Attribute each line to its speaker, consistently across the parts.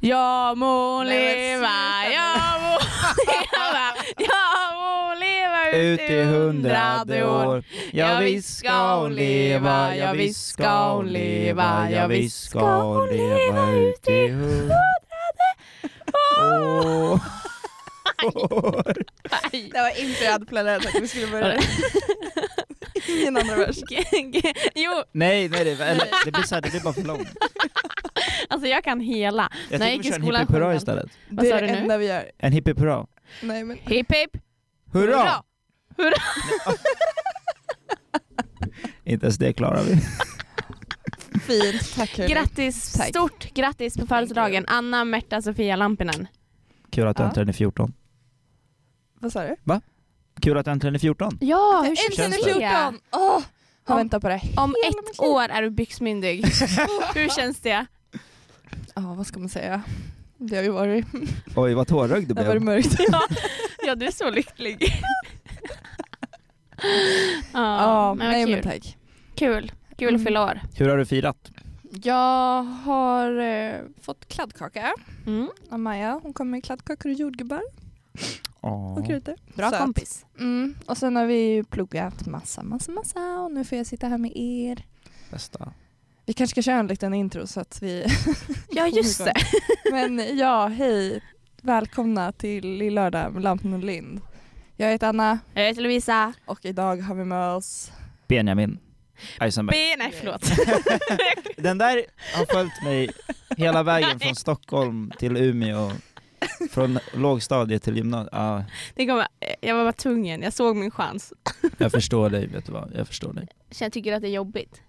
Speaker 1: Jag må
Speaker 2: Nej, men
Speaker 1: leva,
Speaker 2: sluta
Speaker 1: jag må leva, jag må leva
Speaker 3: Ut i hundrade år Ja visst ska hon leva, ja visst ska hon leva Ja visst ska hon leva ut i hundrade år
Speaker 1: Aj.
Speaker 2: Det var inte jag hade planerat att vi skulle börja. Ingen annan vers.
Speaker 1: jo,
Speaker 3: Nej, nej det, eller, det blir så här, det blir bara för långt.
Speaker 1: alltså jag kan hela.
Speaker 3: Jag
Speaker 1: Nej,
Speaker 3: tänker
Speaker 1: gick
Speaker 3: vi
Speaker 1: i
Speaker 3: kör en
Speaker 1: skolan
Speaker 3: hippie hurra
Speaker 1: sjuan.
Speaker 3: istället.
Speaker 1: Vad
Speaker 2: det
Speaker 1: sa
Speaker 2: är
Speaker 1: du
Speaker 2: det
Speaker 1: nu?
Speaker 2: enda vi gör.
Speaker 3: En hippie hurra.
Speaker 2: Nej men.
Speaker 1: Hipp hipp!
Speaker 3: Hurra!
Speaker 1: Hurra!
Speaker 3: Inte ens det klarar vi.
Speaker 2: Fint, tack hörni.
Speaker 1: Grattis,
Speaker 2: Tack.
Speaker 1: stort grattis på födelsedagen Anna Märta Sofia Lampinen.
Speaker 3: Kul att du
Speaker 2: Ja.
Speaker 3: äntligen är 14.
Speaker 2: Vad sa du?
Speaker 3: Kul att du äntligen är 14.
Speaker 1: Ja, hur
Speaker 3: Äntligen
Speaker 1: känns
Speaker 3: är
Speaker 1: det?
Speaker 2: 14! Åh, har
Speaker 1: Om-
Speaker 2: väntat på det.
Speaker 1: Om
Speaker 2: hela mitt
Speaker 1: ett
Speaker 2: liv.
Speaker 1: år är du byxmyndig. hur känns det?
Speaker 2: Ja, vad ska man säga? Det har ju varit,
Speaker 3: Oj, vad tårögd du
Speaker 2: det har varit
Speaker 3: blev.
Speaker 2: mörkt. Ja,
Speaker 1: Ja, du är så lycklig. ja, men vad
Speaker 2: nej
Speaker 1: kul.
Speaker 2: men tack.
Speaker 1: kul. Kul att
Speaker 2: Mm.
Speaker 1: fylla år.
Speaker 3: Hur har du firat?
Speaker 2: Jag har eh, fått kladdkaka
Speaker 1: Mm.
Speaker 2: av Maja. Hon kom med kladdkakor och jordgubbar
Speaker 3: Åh.
Speaker 2: och kryddor.
Speaker 1: Bra
Speaker 2: Söt.
Speaker 1: kompis.
Speaker 2: Mm. Och sen har vi ju pluggat massa, massa, massa och nu får jag sitta här med er.
Speaker 3: Bästa.
Speaker 2: Vi kanske ska köra en liten intro så att vi...
Speaker 1: Ja, just det.
Speaker 2: Men ja, hej. Välkomna till Lill Lördag med Lampen och Lind. Jag heter Anna
Speaker 1: Jag heter Eh, Lovisa.
Speaker 2: och idag har vi med oss...
Speaker 3: Benjamin Eisenberg.
Speaker 1: B, nej förlåt.
Speaker 3: Den där har följt mig hela vägen från Stockholm till Umeå. Från lågstadiet till gymnasiet. Ja,
Speaker 1: Det kommer, eh, jag var bara tvungen, jag såg min chans.
Speaker 3: jag förstår dig, vet du vad? Jag förstår dig.
Speaker 1: Så jag tycker att det är jobbigt.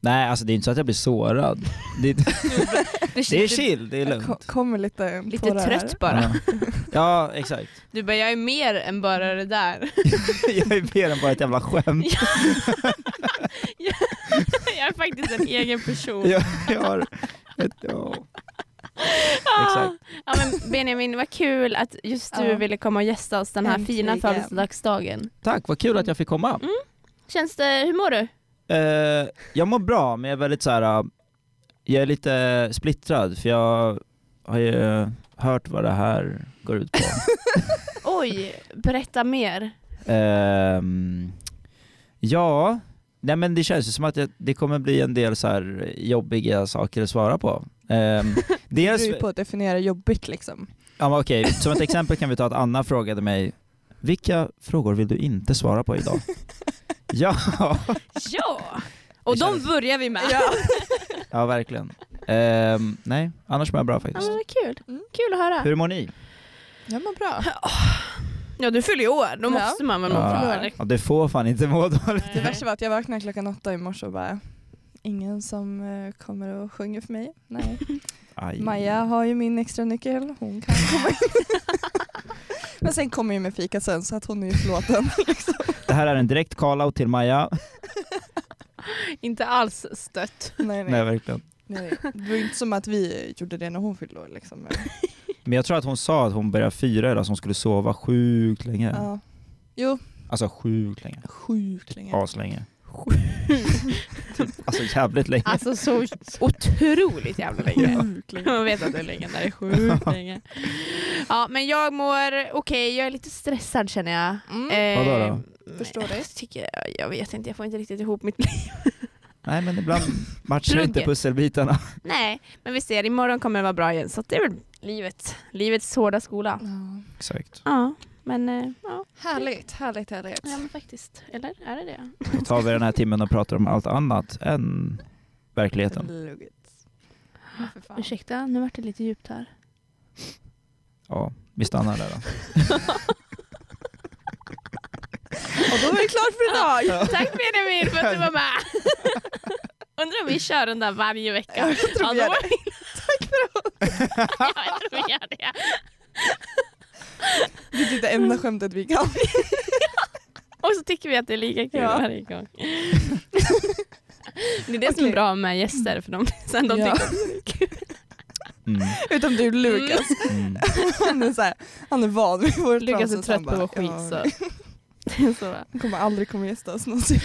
Speaker 3: Nej, alltså det är inte så att jag blir sårad. Det är, det är chill, det är
Speaker 2: Ko-
Speaker 3: lugnt.
Speaker 2: Kommer lite
Speaker 1: Lite
Speaker 2: tårar här.
Speaker 1: trött bara.
Speaker 3: Ja, ja exakt.
Speaker 1: Du bara, jag är mer än bara det där.
Speaker 3: Jag är mer än bara ett jävla skämt.
Speaker 1: jag är faktiskt en egen person.
Speaker 3: Jag, jag har ett, ja.
Speaker 1: Ah.
Speaker 3: Exakt.
Speaker 1: Ja, men Benjamin, vad kul att just du
Speaker 2: Ja.
Speaker 1: ville komma och gästa oss den här fina
Speaker 2: Äntligen.
Speaker 1: födelsedagsdagen.
Speaker 3: Tack, vad kul att jag fick komma.
Speaker 1: Känns det, hur mår du?
Speaker 3: Eh, jag mår bra, men jag är väldigt så här. eh, jag är lite splittrad för jag har ju hört vad det här går ut på.
Speaker 1: Oj, berätta mer.
Speaker 3: Ehm, ja, nej men det känns ju som att det, det kommer bli en del så här jobbiga saker att svara på. Um,
Speaker 2: Det
Speaker 3: dels,
Speaker 2: beror ju på att definiera jobbigt liksom.
Speaker 3: ja, men okej, som ett exempel kan vi ta att Anna frågade mig vilka frågor vill du inte svara på idag? ja,
Speaker 1: Ja! Och
Speaker 3: Det
Speaker 1: de
Speaker 3: känns-
Speaker 1: börjar vi med.
Speaker 3: ja verkligen. Ehm, nej, annars mår jag bra
Speaker 1: Ja,
Speaker 3: faktiskt.
Speaker 1: men vad kul.
Speaker 2: Mm.
Speaker 1: Kul att höra.
Speaker 3: Hur mår ni?
Speaker 2: Jag mår bra.
Speaker 1: Ja, du fyller ju år. Då
Speaker 2: Ja.
Speaker 1: måste man väl må
Speaker 3: Ja.
Speaker 1: bra? eller?
Speaker 3: Ja, det får fan inte må dåligt.
Speaker 2: Det värsta var att jag vaknade klockan åtta i morse och bara Ingen som eh, kommer och sjunger för mig. Nej.
Speaker 3: Aj.
Speaker 2: Maja har ju min extra nyckel. hon kan komma in. Men sen kommer ju med fika sen så att hon är ju förlåten.
Speaker 3: Det här är en direkt call-out till Maja.
Speaker 1: Inte alls stött.
Speaker 2: Nej,
Speaker 3: Nej
Speaker 2: nej.
Speaker 3: verkligen.
Speaker 2: nej. Det var ju inte som att vi gjorde det när hon fyllde år liksom. Men,
Speaker 3: Men jag tror att hon sa att hon började fyra idag så hon skulle sova sjukt länge.
Speaker 2: ja. Jo,
Speaker 3: Alltså sjukt länge.
Speaker 2: sjukt länge.
Speaker 3: Aslänge. Alltså jävligt
Speaker 2: Ah.
Speaker 3: länge.
Speaker 1: Alltså så otroligt jävla länge.
Speaker 2: Sjukt länge.
Speaker 1: Man vet att det är länge, det är sjukt länge. Ja, men jag mår okej, jag är lite stressad känner jag.
Speaker 2: Mm.
Speaker 1: Eh,
Speaker 3: Vadå då?
Speaker 1: men
Speaker 2: Förstår dig.
Speaker 1: Jag, tycker, jag vet inte, jag får inte riktigt ihop mitt liv.
Speaker 3: Nej men ibland matchar
Speaker 1: Plugget.
Speaker 3: inte pusselbitarna.
Speaker 1: Nej, men vi ser, imorgon kommer det vara bra igen. Så att det är väl livet. Livets hårda skola.
Speaker 2: Ja.
Speaker 3: Exakt.
Speaker 1: Ja, men eh, ja,
Speaker 2: Härligt, härligt, härligt.
Speaker 1: ja men faktiskt. Eller är det det?
Speaker 3: Då tar vi den här timmen och pratar om allt annat än verkligheten.
Speaker 2: Lugget. Ja, för fan.
Speaker 1: Ursäkta, nu vart det lite djupt här.
Speaker 3: Ja, vi stannar där då.
Speaker 2: Och då var det klart för idag.
Speaker 1: Tack Benjamin för att du var med. Undrar om vi kör den där varje vecka.
Speaker 2: Ja, jag tror vi
Speaker 1: då
Speaker 2: gör
Speaker 1: var vi- Tack för oss. ja, jag tror vi gör det.
Speaker 2: Det är det enda skämtet vi kan.
Speaker 1: Och så tycker vi att det är lika kul
Speaker 2: Ja.
Speaker 1: varje gång. Det är det som är
Speaker 2: Okej.
Speaker 1: bra med gäster för de, sen de
Speaker 2: Ja.
Speaker 1: tycker att det är kul.
Speaker 3: Mm,
Speaker 2: Utom du Lukas.
Speaker 3: mm.
Speaker 2: Han, är så här, han är van vid vårt
Speaker 1: Lukas är
Speaker 2: trams, så
Speaker 1: trött
Speaker 2: han
Speaker 1: på vår
Speaker 2: bara,
Speaker 1: skit
Speaker 2: "Ja,
Speaker 1: så. så.
Speaker 2: Han kommer aldrig komma gästa oss någonsin.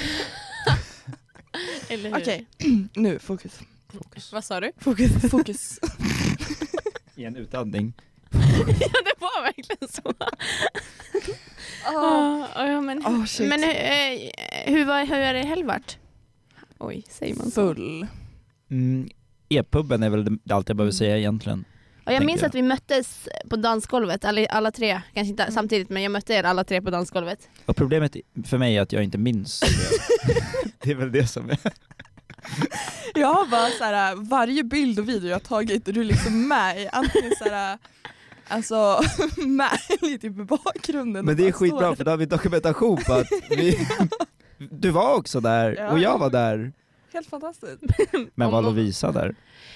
Speaker 1: Eller hur?
Speaker 2: Okej, nu fokus.
Speaker 3: Fokus.
Speaker 1: Vad sa du?
Speaker 2: Fokus. fokus.
Speaker 3: i en utandning.
Speaker 1: Ja, det var verkligen så.
Speaker 2: Åh,
Speaker 1: Ja, ja, men
Speaker 2: Åh, shit.
Speaker 1: men eh, hur, var, hur har er helg varit? Oj, säger man så?
Speaker 2: Full.
Speaker 3: Mm, E-puben är väl det- allt jag
Speaker 2: Mm.
Speaker 3: behöver säga egentligen.
Speaker 1: Och jag minns
Speaker 3: tänker
Speaker 1: att
Speaker 3: jag.
Speaker 1: vi möttes på dansgolvet, alla, alla tre. Kanske
Speaker 2: Mm.
Speaker 1: inte samtidigt, men jag mötte er alla tre på dansgolvet.
Speaker 3: Och problemet för mig är att jag inte minns det. det är väl det som är...
Speaker 2: Jag har bara så här, varje bild och video jag har tagit är du liksom med i. Antingen så här, alltså med lite i bakgrunden.
Speaker 3: Men det är
Speaker 2: och bara
Speaker 3: skitbra
Speaker 2: står
Speaker 3: för då har vi dokumentation på att vi... Du var också där och jag var där.
Speaker 2: där. Helt fantastiskt.
Speaker 3: Men
Speaker 1: Om
Speaker 3: var
Speaker 1: någon-
Speaker 3: Lovisa där?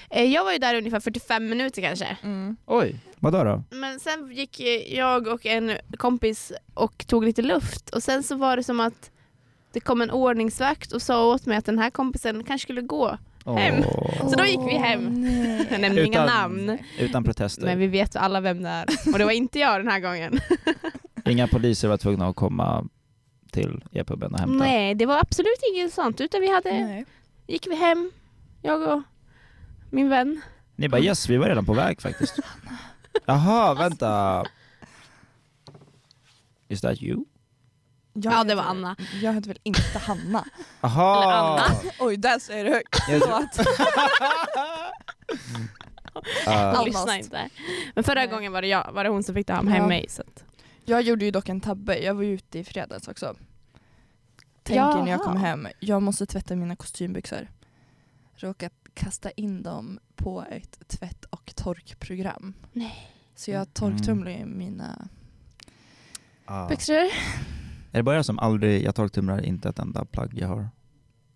Speaker 1: Eh, Jag var ju där ungefär 45 minuter kanske.
Speaker 2: Mm.
Speaker 3: Oj. Vadå då?
Speaker 1: Men sen gick eh, jag och en kompis och tog lite luft och sen så var det som att det kom en ordningsvakt och sa åt mig att den här kompisen kanske skulle gå. Hem.
Speaker 3: Åh.
Speaker 1: Så då gick vi hem. Jag nämnde inga
Speaker 3: Utan-
Speaker 1: namn,
Speaker 3: Utan protester.
Speaker 1: men vi vet alla vem det är. Och det var inte jag den här gången.
Speaker 3: Inga poliser var tvungna att komma till e-puben och hämta.
Speaker 1: Nej, det var absolut inget sånt. Utan vi hade,
Speaker 2: Nej.
Speaker 1: gick vi hem, jag och min vän.
Speaker 3: Ni bara yes, vi var redan på väg faktiskt. Jaha, vänta. Is that you?
Speaker 2: Jag
Speaker 1: Ja,
Speaker 2: heter-
Speaker 1: det var Anna.
Speaker 2: Jag heter väl inte Hanna?
Speaker 1: Eller
Speaker 3: Aha.
Speaker 1: Anna.
Speaker 2: Oj, där säger du högt.
Speaker 3: Jag-
Speaker 2: Förlåt.
Speaker 3: Ah,
Speaker 1: Jag
Speaker 2: Almost.
Speaker 1: lyssnar inte. Men förra
Speaker 2: Nej.
Speaker 1: gången var det, jag, var det hon som fick ta hem
Speaker 2: Ja.
Speaker 1: mig. Så att.
Speaker 2: Jag gjorde ju dock en tabbe, jag var ju ute i fredags också. Tänker när jag
Speaker 1: Jaha.
Speaker 2: kom hem, jag måste tvätta mina kostymbyxor. Råkat kasta in dem på ett tvätt och torkprogram.
Speaker 1: Nej.
Speaker 2: Så
Speaker 3: Mm.
Speaker 2: jag torktumlar ju mina
Speaker 3: ah.
Speaker 2: byxor.
Speaker 3: Är det bara jag som aldrig, jag torktumlar inte ett enda plagg jag har.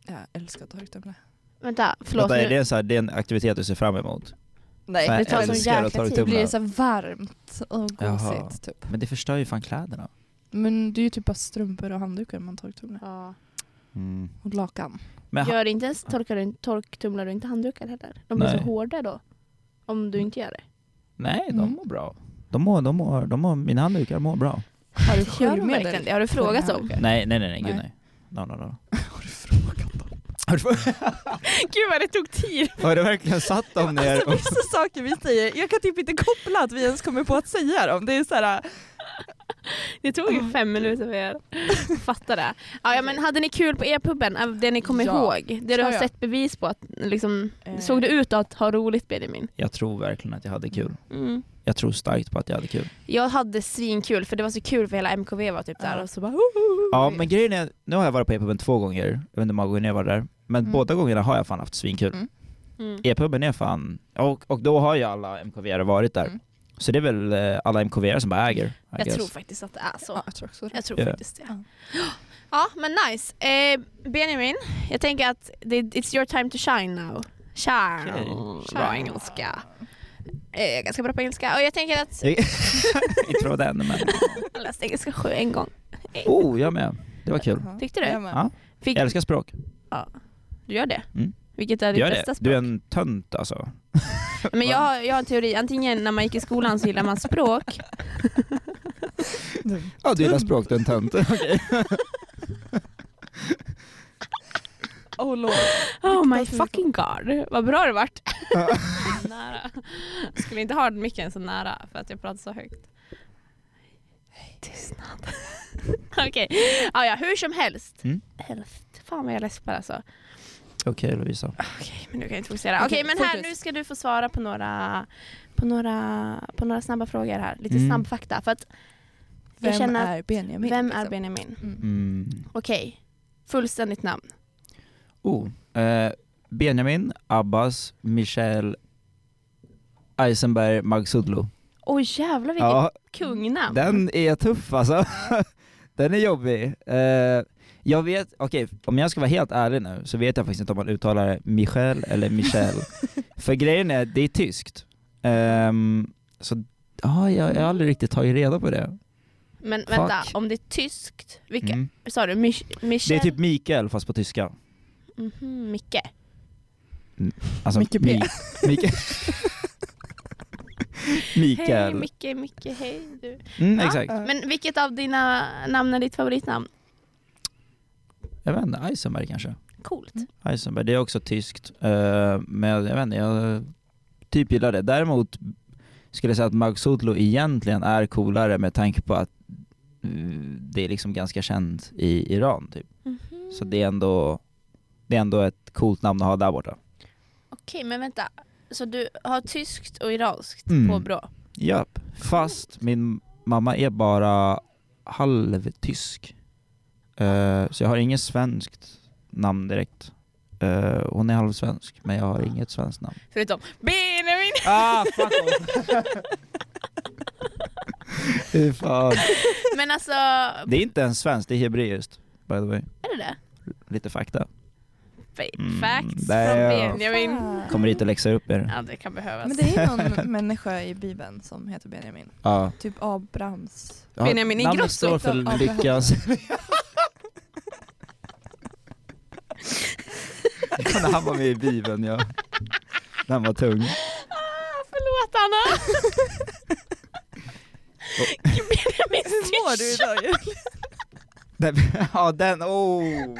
Speaker 2: Jag älskar att torktumla.
Speaker 1: Vänta, förlåt.
Speaker 3: Vänta, är
Speaker 1: nu.
Speaker 3: det, en så här, det är en aktivitet du ser fram emot?
Speaker 2: Nej,
Speaker 3: Nej,
Speaker 1: det tar sån
Speaker 3: älskar
Speaker 1: jäkla
Speaker 3: att
Speaker 1: tid.
Speaker 2: det
Speaker 3: torktumla.
Speaker 2: blir så varmt och
Speaker 3: Jaha.
Speaker 2: gosigt typ.
Speaker 3: Men det förstör ju fan kläderna.
Speaker 2: Men det är ju typ bara strumpor och handdukar man torktumlar.
Speaker 1: Ja.
Speaker 3: Mm.
Speaker 2: Och lakan.
Speaker 3: Men ha-
Speaker 1: Gör inte ens torkar du, torktumlar du inte handdukar heller? De blir
Speaker 3: Nej.
Speaker 1: så hårda då. Om du inte gör det.
Speaker 3: nej, de
Speaker 2: Mm.
Speaker 3: mår bra. De mår, de mår, de mår, mina handdukar mår bra.
Speaker 2: Har
Speaker 1: Gör
Speaker 2: du
Speaker 1: de verkligen
Speaker 2: sköljmedel?
Speaker 1: det? Har du frågat
Speaker 2: Ja.
Speaker 1: dem?
Speaker 3: Nej, nej, nej, nej, gud nej.
Speaker 2: Nej.
Speaker 3: No, no, no.
Speaker 2: Har du frågat dem?
Speaker 3: Har du-
Speaker 1: Gud vad det tog tid.
Speaker 3: Har du verkligen satt dem ner?
Speaker 2: Alltså vissa saker vi säger, jag kan typ inte koppla att vi ens kommer på att säga dem. Det är så här,
Speaker 1: Det tog ju fem minuter för er. Fattar det. Ja, ja, men hade ni kul på e-puben? Av Det ni kommer
Speaker 2: Ja.
Speaker 1: ihåg? Det du
Speaker 2: Ja,
Speaker 1: har
Speaker 2: ja.
Speaker 1: sett bevis på? Att, liksom,
Speaker 2: Eh.
Speaker 1: Såg det ut att ha roligt Benjamin?
Speaker 3: Jag tror verkligen att jag hade kul.
Speaker 1: Mm.
Speaker 3: Jag tror starkt på att jag hade kul.
Speaker 1: Jag hade svinkul för det var så kul för hela MKV var typ där
Speaker 2: Ja.
Speaker 1: och så bara
Speaker 3: Ja, men grejen är, nu har jag varit på E e-puben två gånger, jag vet inte hur många gånger jag var där, men
Speaker 2: Mm.
Speaker 3: båda gångerna har jag fan haft svinkul.
Speaker 2: Mm.
Speaker 1: mm.
Speaker 3: E-puben är fan, och, och då har ju alla MKV-are varit där.
Speaker 2: Mm.
Speaker 3: Så det är väl eh, alla MKV-are som bara äger. I
Speaker 1: Jag
Speaker 3: guess.
Speaker 1: tror faktiskt att det är så.
Speaker 2: ja, jag tror också det.
Speaker 1: Jag tror
Speaker 3: Ja.
Speaker 1: faktiskt det. Ja men nice. Eh, Benjamin, jag tänker att det, it's your time to shine now. Shine.
Speaker 3: Okej.
Speaker 1: Bra engelska. Eh, jag är ganska bra på engelska och jag tänker att
Speaker 3: Inte från den, men...
Speaker 1: jag läste engelska sju en gång.
Speaker 3: Oh, jag med. Det var kul.
Speaker 2: Ja.
Speaker 1: Tyckte du?
Speaker 2: Jag med.
Speaker 3: Ja.
Speaker 1: Fick,
Speaker 3: Jag älskar språk.
Speaker 1: du gör det?
Speaker 3: Mm.
Speaker 1: Vilket är ditt
Speaker 3: Gör
Speaker 1: bästa
Speaker 3: det.
Speaker 1: språk?
Speaker 3: Du är en tönt alltså.
Speaker 1: Men jag, har- jag har en teori, antingen när man gick i skolan så gillar man språk
Speaker 3: Ja, du gillar språk, du är en tönt. Okej.
Speaker 2: Oh lord.
Speaker 1: Oh my
Speaker 2: Riktigt
Speaker 1: fucking god, vad bra det vart. nära. Jag skulle inte ha micken så nära för att jag pratar så högt. Tystnad. Okej, ah, ja, hur som helst.
Speaker 3: Mm.
Speaker 1: Helst. Fan vad jag läspar alltså.
Speaker 3: Okej Lovisa.
Speaker 1: Okej, men nu kan jag inte fokusera. Okej,
Speaker 2: Okej,
Speaker 1: men här,
Speaker 2: fokus.
Speaker 1: nu ska du få svara på några, på några, på några snabba frågor här. Lite
Speaker 3: Mm.
Speaker 1: snabb fakta. För att jag
Speaker 2: Vem
Speaker 1: känner att,
Speaker 2: är Benjamin?
Speaker 1: vem
Speaker 2: liksom?
Speaker 1: är Benjamin?
Speaker 2: Mm.
Speaker 3: Mm.
Speaker 1: Okej, fullständigt namn.
Speaker 3: Oh. Eh, Benjamin, Abbas, Michel, Eisenberg, Magsudlo.
Speaker 1: Oj jävlar vilket
Speaker 3: Ja,
Speaker 1: kungnamn.
Speaker 3: den är tuff alltså. Den är jobbig. Eh, jag vet, okej, om jag ska vara helt ärlig nu så vet jag faktiskt inte om man uttalar det Michel eller Michel. För grejen är, det är tyskt. Ehm, så ja, jag, jag har aldrig riktigt tagit reda på det.
Speaker 1: Men vänta,
Speaker 3: Fuck.
Speaker 1: om det är tyskt, vilka,
Speaker 3: Mm.
Speaker 1: sa du? Mich-
Speaker 3: Det
Speaker 1: Michel?
Speaker 3: är typ Mikael fast på tyska.
Speaker 1: Mhm, Micke.
Speaker 3: Alltså,
Speaker 2: Micke P.
Speaker 3: Mi- Micke-
Speaker 1: Hej
Speaker 3: Mikael.
Speaker 1: Micke, Micke, hej du.
Speaker 3: Mm,
Speaker 1: Ja.
Speaker 3: exakt.
Speaker 2: Ja.
Speaker 1: Men vilket av dina namn är ditt favoritnamn?
Speaker 3: Jag vet inte, Eisenberg kanske.
Speaker 1: Coolt.
Speaker 3: Mm. Heisenberg, det är också tyskt. Eh, men jag vet inte, jag typ gillar det. Däremot skulle säga att Magsutlo egentligen är coolare med tanke på att mm, det är liksom ganska känt i Iran typ.
Speaker 1: Mhm.
Speaker 3: Så det är ändå, det är ändå ett coolt namn att ha där borta.
Speaker 1: Okej, men vänta. Så du har tyskt och iranskt
Speaker 3: Mm.
Speaker 1: på bra?
Speaker 3: Japp. Fast min mamma är bara halvtysk. Eh, så jag har inget svenskt namn direkt. Eh, hon är halvsvensk, men jag har inget svenskt namn.
Speaker 1: Förutom Benjamin!
Speaker 3: Ah, fuck off! Fy fan.
Speaker 1: Men alltså,
Speaker 3: Det är inte ens svenskt, det är hebreiskt. By the way.
Speaker 1: är det det?
Speaker 3: Lite fakta.
Speaker 1: Fa-
Speaker 3: Mm,
Speaker 1: Facts
Speaker 3: nej,
Speaker 1: från
Speaker 3: ja.
Speaker 1: Benjamin.
Speaker 2: Fan.
Speaker 3: Kommer hit och läxar upp er.
Speaker 1: Ja, det kan behövas.
Speaker 2: Men det är någon människa i Bibeln som heter Benjamin.
Speaker 3: Ja.
Speaker 2: Typ Abrams.
Speaker 3: Ja,
Speaker 1: Benjamin
Speaker 3: namnet
Speaker 1: Ingrosso.
Speaker 3: står för lyckas. Ja, när han var med i Bibeln ja. När han var tung.
Speaker 1: Ah, förlåt Anna! Benjamins
Speaker 2: Hur mår du
Speaker 1: tyscha!
Speaker 2: idag
Speaker 3: Den, ja den, oh.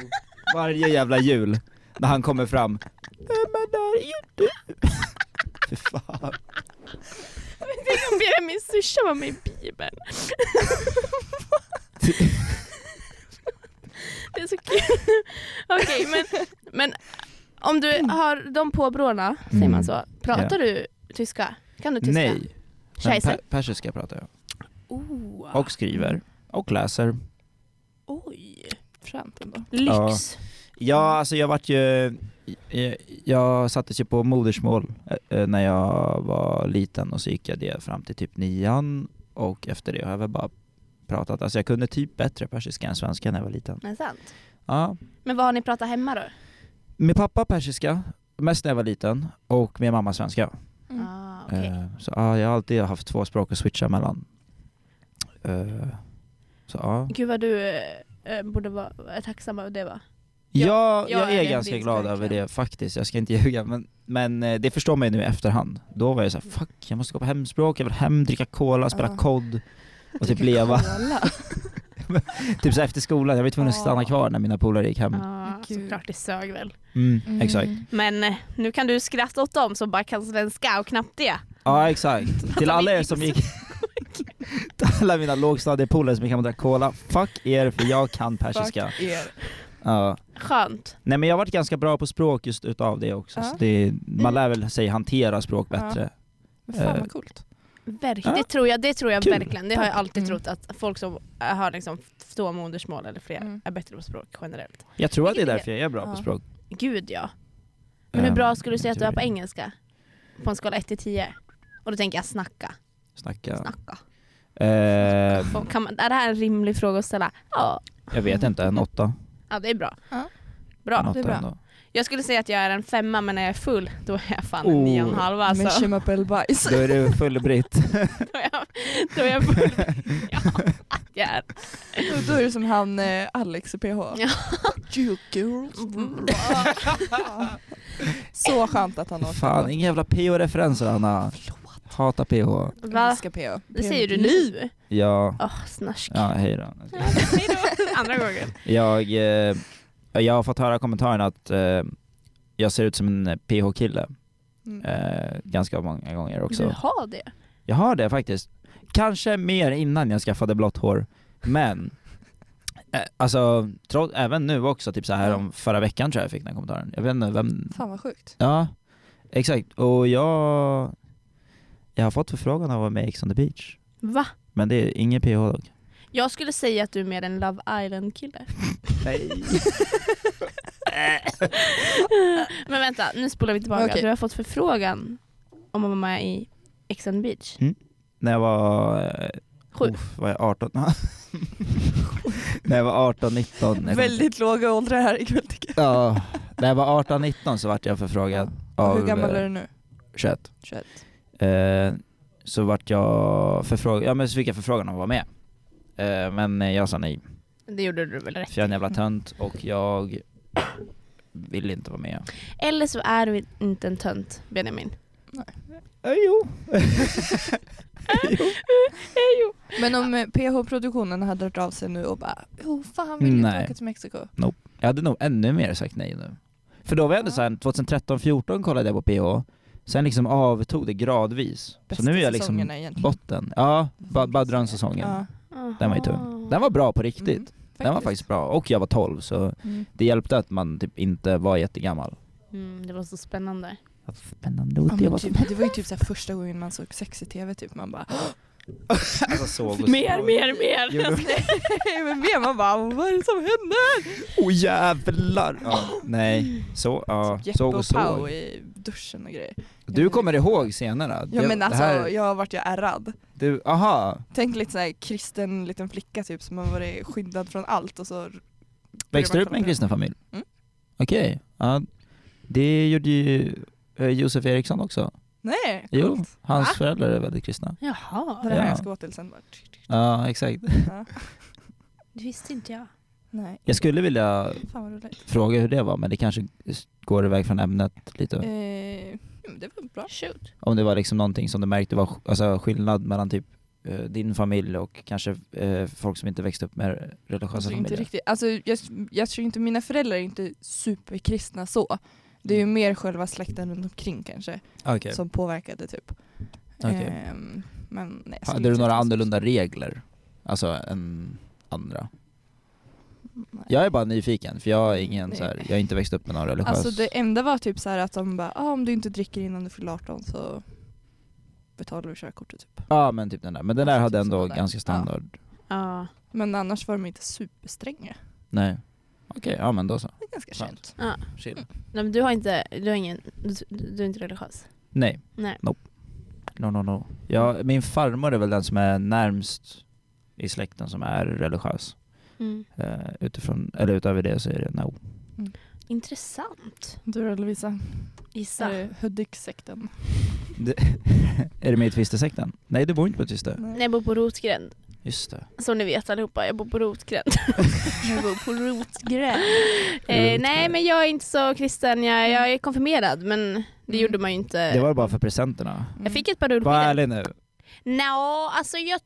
Speaker 3: Varje jävla jul när han kommer fram. Vem är där? Jo du. Fy fan.
Speaker 1: Tänk om Benjamins tyscha var med i Bibeln. det är så kul. Okej, men, men om du har de påbråna, säger man så, pratar du tyska? Kan du tyska?
Speaker 3: Mm. Nej. Men
Speaker 1: Scheisse?
Speaker 3: per- persiska pratar jag.
Speaker 1: Oh,
Speaker 3: Och skriver. Och läser.
Speaker 1: Oj.
Speaker 2: Skönt ändå.
Speaker 1: Lyx.
Speaker 3: Ja, alltså jag vart ju... Jag, jag sattes ju på modersmål eh, eh, när jag var liten och så gick jag det fram till typ nian och efter det har jag väl bara pratat. Alltså jag kunde typ bättre persiska än svenska när jag var liten.
Speaker 1: Men sant.
Speaker 3: Ja.
Speaker 1: Men vad har ni pratat hemma då?
Speaker 3: Min pappa persiska, mest när jag var liten, och min mamma svenska.
Speaker 2: Mm.
Speaker 1: Ah, okej.
Speaker 3: Eh, Så ja, jag har alltid haft två språk att switcha mellan. Eh, Så ja.
Speaker 1: Gud vad du eh, eh, borde vara tacksam över det va? jag
Speaker 3: Jag, jag
Speaker 1: är
Speaker 3: är
Speaker 1: det
Speaker 3: ganska
Speaker 1: minst
Speaker 3: glad över
Speaker 1: verkligen.
Speaker 3: det faktiskt, jag ska inte ljuga. Men, men eh, det förstår man ju nu i efterhand. Då var jag såhär, fuck jag måste gå på hemspråk, jag vill hem, dricka cola, spela
Speaker 2: Ja.
Speaker 3: kod och typ
Speaker 2: Dricka
Speaker 3: leva.
Speaker 2: cola.
Speaker 3: typ så här efter skolan, jag var tvungen att
Speaker 2: Ja.
Speaker 3: stanna kvar när mina polare gick hem.
Speaker 1: Ja,
Speaker 2: Gud.
Speaker 1: Mm. såklart det sög väl.
Speaker 3: Mm,
Speaker 2: Mm.
Speaker 3: Exakt.
Speaker 1: Ah, Men eh, nu kan du skratta åt dem som bara kan svenska och knappt det.
Speaker 3: Ja exakt. Till alla er som gick... Till alla mina lågstadiepolare som gick hem och drack cola, fuck er för jag kan persiska.
Speaker 2: Fuck er.
Speaker 3: Ja.
Speaker 1: Skönt.
Speaker 3: Nej men jag har varit ganska bra på språk just utav det också.
Speaker 2: Ja.
Speaker 3: Så det, man lär väl sig hantera språk
Speaker 2: Ja.
Speaker 3: bättre.
Speaker 2: Men
Speaker 3: Eh,
Speaker 2: Fan vad coolt.
Speaker 1: Verkligen.
Speaker 3: Ja.
Speaker 1: Det tror jag, det tror jag
Speaker 3: Kul.
Speaker 1: verkligen. Det har jag alltid
Speaker 2: Mm.
Speaker 1: trott att folk som har liksom två modersmål eller fler
Speaker 2: Mm.
Speaker 1: är bättre på språk generellt.
Speaker 3: Jag tror att det är
Speaker 1: Vilket är-
Speaker 3: därför jag är bra
Speaker 2: Ja.
Speaker 3: på språk.
Speaker 1: Gud ja. Men
Speaker 3: Eh,
Speaker 1: hur bra skulle du säga att du är på
Speaker 3: engelska?
Speaker 1: engelska? På en skala 1 till 10? Och då tänker jag snacka.
Speaker 3: Snacka.
Speaker 1: Snacka.
Speaker 3: Eh,
Speaker 1: Och Kan man, är det här en rimlig fråga att ställa? Ja,
Speaker 3: jag vet inte, en åtta.
Speaker 1: ja det är bra.
Speaker 2: Ja.
Speaker 1: Bra.
Speaker 3: en åtta
Speaker 2: det är bra.
Speaker 3: Ändå.
Speaker 1: Jag skulle säga att jag är en femma men när jag är full då är jag fan en
Speaker 3: Oh.
Speaker 1: nio och en halv
Speaker 2: Med
Speaker 1: alltså.
Speaker 2: chimapelbajs.
Speaker 3: Då är du full britt.
Speaker 1: Då är jag, då är jag full. Ja, jag är.
Speaker 2: Då är du som han eh, Alex i PH.
Speaker 1: Ja.
Speaker 2: You girls. Mm. Så skönt att han åkte
Speaker 3: Fan,
Speaker 2: på.
Speaker 3: inga jävla PH-referenser Anna. Hatar PH.
Speaker 1: Va?
Speaker 2: Älskar PH.
Speaker 1: Det säger du nu?
Speaker 3: Ja,
Speaker 1: Åh, snask.
Speaker 3: ja hej då.
Speaker 1: Hejdå. Andra gången.
Speaker 3: Jag, eh, jag har fått höra kommentaren att eh, jag ser ut som en PH-kille.
Speaker 2: Mm.
Speaker 3: Eh, ganska många gånger också.
Speaker 1: Du har det?
Speaker 3: Jag har det faktiskt. Kanske mer innan jag skaffade blått hår, men eh, Alltså, trots, även nu också, typ så här om förra veckan tror jag jag fick den kommentaren. Jag vet inte vem...
Speaker 2: Fan vad sjukt.
Speaker 3: Ja, exakt. Och jag... Jag har fått förfrågan av att vara med i Ex on the beach.
Speaker 1: Va?
Speaker 3: Men det är ingen PH dock.
Speaker 1: Jag skulle säga att du är mer en Love Island-kille.
Speaker 3: Nej.
Speaker 1: Men vänta, nu spolar vi tillbaka.
Speaker 2: Okej.
Speaker 1: Du har fått förfrågan om att vara med i Ex on the beach.
Speaker 3: När jag var... eh,
Speaker 1: Sju.
Speaker 3: Uff, var jag 18? När jag var 18, 19. jag kommer inte-
Speaker 2: Väldigt låga åldrar här ikväll tycker
Speaker 3: Ja. När jag var 18, 19 så vart jag förfrågad
Speaker 2: jag.
Speaker 3: av...
Speaker 2: Hur gammal
Speaker 3: eh,
Speaker 2: är du nu?
Speaker 3: 21.
Speaker 2: 21.
Speaker 3: Eh, så vart jag förfrågad, ja men så fick jag förfrågan om att vara med. Eh, men eh, jag sa nej,
Speaker 1: Det gjorde du väl rätt
Speaker 3: för jag är en jävla tönt och jag vill inte vara med.
Speaker 1: Eller så är du inte en tönt, Benjamin.
Speaker 3: Eh, jo.
Speaker 1: Hejo.
Speaker 2: Men om eh, PH-produktionen hade hört av sig nu och bara oh, fan vill du inte
Speaker 3: Nej.
Speaker 2: åka till Mexiko?
Speaker 3: Jag hade nog ännu mer sagt nej nu. För då var jag ändå såhär, 2013-14 kollade jag på PH, Sen liksom avtog det gradvis.
Speaker 2: Bästa
Speaker 3: så nu är jag liksom
Speaker 2: säsongerna egentligen.
Speaker 3: botten. Ja, ba- Badran-säsongen.
Speaker 2: Ja.
Speaker 1: Den
Speaker 3: Den var ju tung. Den var bra på riktigt.
Speaker 2: Mm,
Speaker 3: Den var faktiskt bra. Och jag var 12 så
Speaker 2: Mm.
Speaker 3: det hjälpte att man typ inte var jättegammal.
Speaker 1: Mm, det var så spännande.
Speaker 3: Vad spännande
Speaker 2: Ja, men typ, det var ju typ så här första gången man såg sex i tv, typ. man bara
Speaker 3: Alltså såg och
Speaker 1: Mer, mer, mer!
Speaker 3: Jo, men-
Speaker 2: Nej men mer, man bara vad är det som händer?
Speaker 3: Åh jävlar! Ja, nej, så, ja.
Speaker 2: Jeppe
Speaker 3: såg och
Speaker 2: och Pau
Speaker 3: såg.
Speaker 2: i duschen och grejer.
Speaker 3: Du kommer ihåg senare?
Speaker 2: Ja
Speaker 3: Det-
Speaker 2: men
Speaker 3: det
Speaker 2: alltså
Speaker 3: här-
Speaker 2: jag vart ju ärrad.
Speaker 3: Du, aha,
Speaker 2: Tänk lite såhär kristen liten flicka typ som har varit skyddad från allt och så
Speaker 3: växte du upp
Speaker 2: kolla
Speaker 3: med en
Speaker 2: på
Speaker 3: kristen familj?
Speaker 2: Mm.
Speaker 3: Okej, ja. Det gjorde ju eh, Josef Eriksson också.
Speaker 2: nej
Speaker 3: Jo,
Speaker 2: coolt.
Speaker 3: hans
Speaker 2: Va?
Speaker 3: föräldrar är väldigt kristna.
Speaker 2: Det
Speaker 1: Jaha,
Speaker 2: är det här
Speaker 3: Ja.
Speaker 2: jag ska gå till sen bara.
Speaker 3: Ja, exakt.
Speaker 2: Ja.
Speaker 1: det visste inte jag.
Speaker 2: Nej,
Speaker 3: Jag skulle vilja
Speaker 2: fan vad roligt.
Speaker 3: fråga hur det var, men det kanske går iväg från ämnet lite.
Speaker 2: Eh, ja, men det var bra.
Speaker 1: Shoot.
Speaker 3: Om det var liksom någonting som du märkte var alltså, skillnad mellan typ eh, din familj och kanske eh, folk som inte växte upp med religiösa
Speaker 2: Alltså, inte
Speaker 3: familjer.
Speaker 2: riktigt. Alltså, jag, jag tror inte mina föräldrar är inte superkristna så. Det är ju mer själva släkten runt omkring kanske
Speaker 3: Mm. Okej.
Speaker 2: som påverkade typ.
Speaker 3: Okej.
Speaker 2: Ehm, men nej, jag
Speaker 3: Hade
Speaker 2: skulle
Speaker 3: du
Speaker 2: inte
Speaker 3: några
Speaker 2: säga så.
Speaker 3: annorlunda regler? Alltså än andra?
Speaker 2: Nej.
Speaker 3: Jag är bara nyfiken för jag är ingen
Speaker 2: Nej.
Speaker 3: så här, jag har inte växt upp med någon religiös...
Speaker 2: Alltså det enda var typ så här att de bara, ah, om du inte dricker innan du fyller 18 så betalar vi körkortet typ.
Speaker 3: Ja men typ den där, men den där
Speaker 2: Alltså,
Speaker 3: hade
Speaker 2: typ
Speaker 3: ändå
Speaker 2: sådana där.
Speaker 3: ganska
Speaker 2: Ja.
Speaker 3: standard.
Speaker 1: Ja.
Speaker 2: Men annars var de inte superstränga.
Speaker 3: Nej. Okej, ja men då så.
Speaker 2: Det är ganska
Speaker 3: Skönt.
Speaker 2: skönt.
Speaker 3: Chill.
Speaker 1: Nej, men du har inte, du har ingen, du, du är inte religiös?
Speaker 3: Nej.
Speaker 1: Nej.
Speaker 3: No no no. Ja, min farmor är väl den som är närmst i släkten som är religiös.
Speaker 1: Mm.
Speaker 3: Eh, utifrån, eller utöver det så är det no.
Speaker 1: Intressant.
Speaker 2: Du då Lovisa, är
Speaker 1: Gissa.
Speaker 2: det Hudik-sekten?
Speaker 3: Är du med i Twistersekten? Nej du bor inte på Twister.
Speaker 1: När jag bor på Rotgränd,
Speaker 3: Just det.
Speaker 1: som ni vet allihopa, jag bor på Rotgränd.
Speaker 2: Jag bor på Rotgränd.
Speaker 1: eh,
Speaker 3: Rotgränd.
Speaker 1: nej men jag är inte så kristen, jag, jag är konfirmerad men det
Speaker 2: Mm.
Speaker 1: gjorde man ju inte.
Speaker 3: Det var bara för presenterna.
Speaker 1: Jag fick ett par
Speaker 3: Var
Speaker 1: rullskidor.
Speaker 3: ärlig nu.
Speaker 1: Nja, alltså jag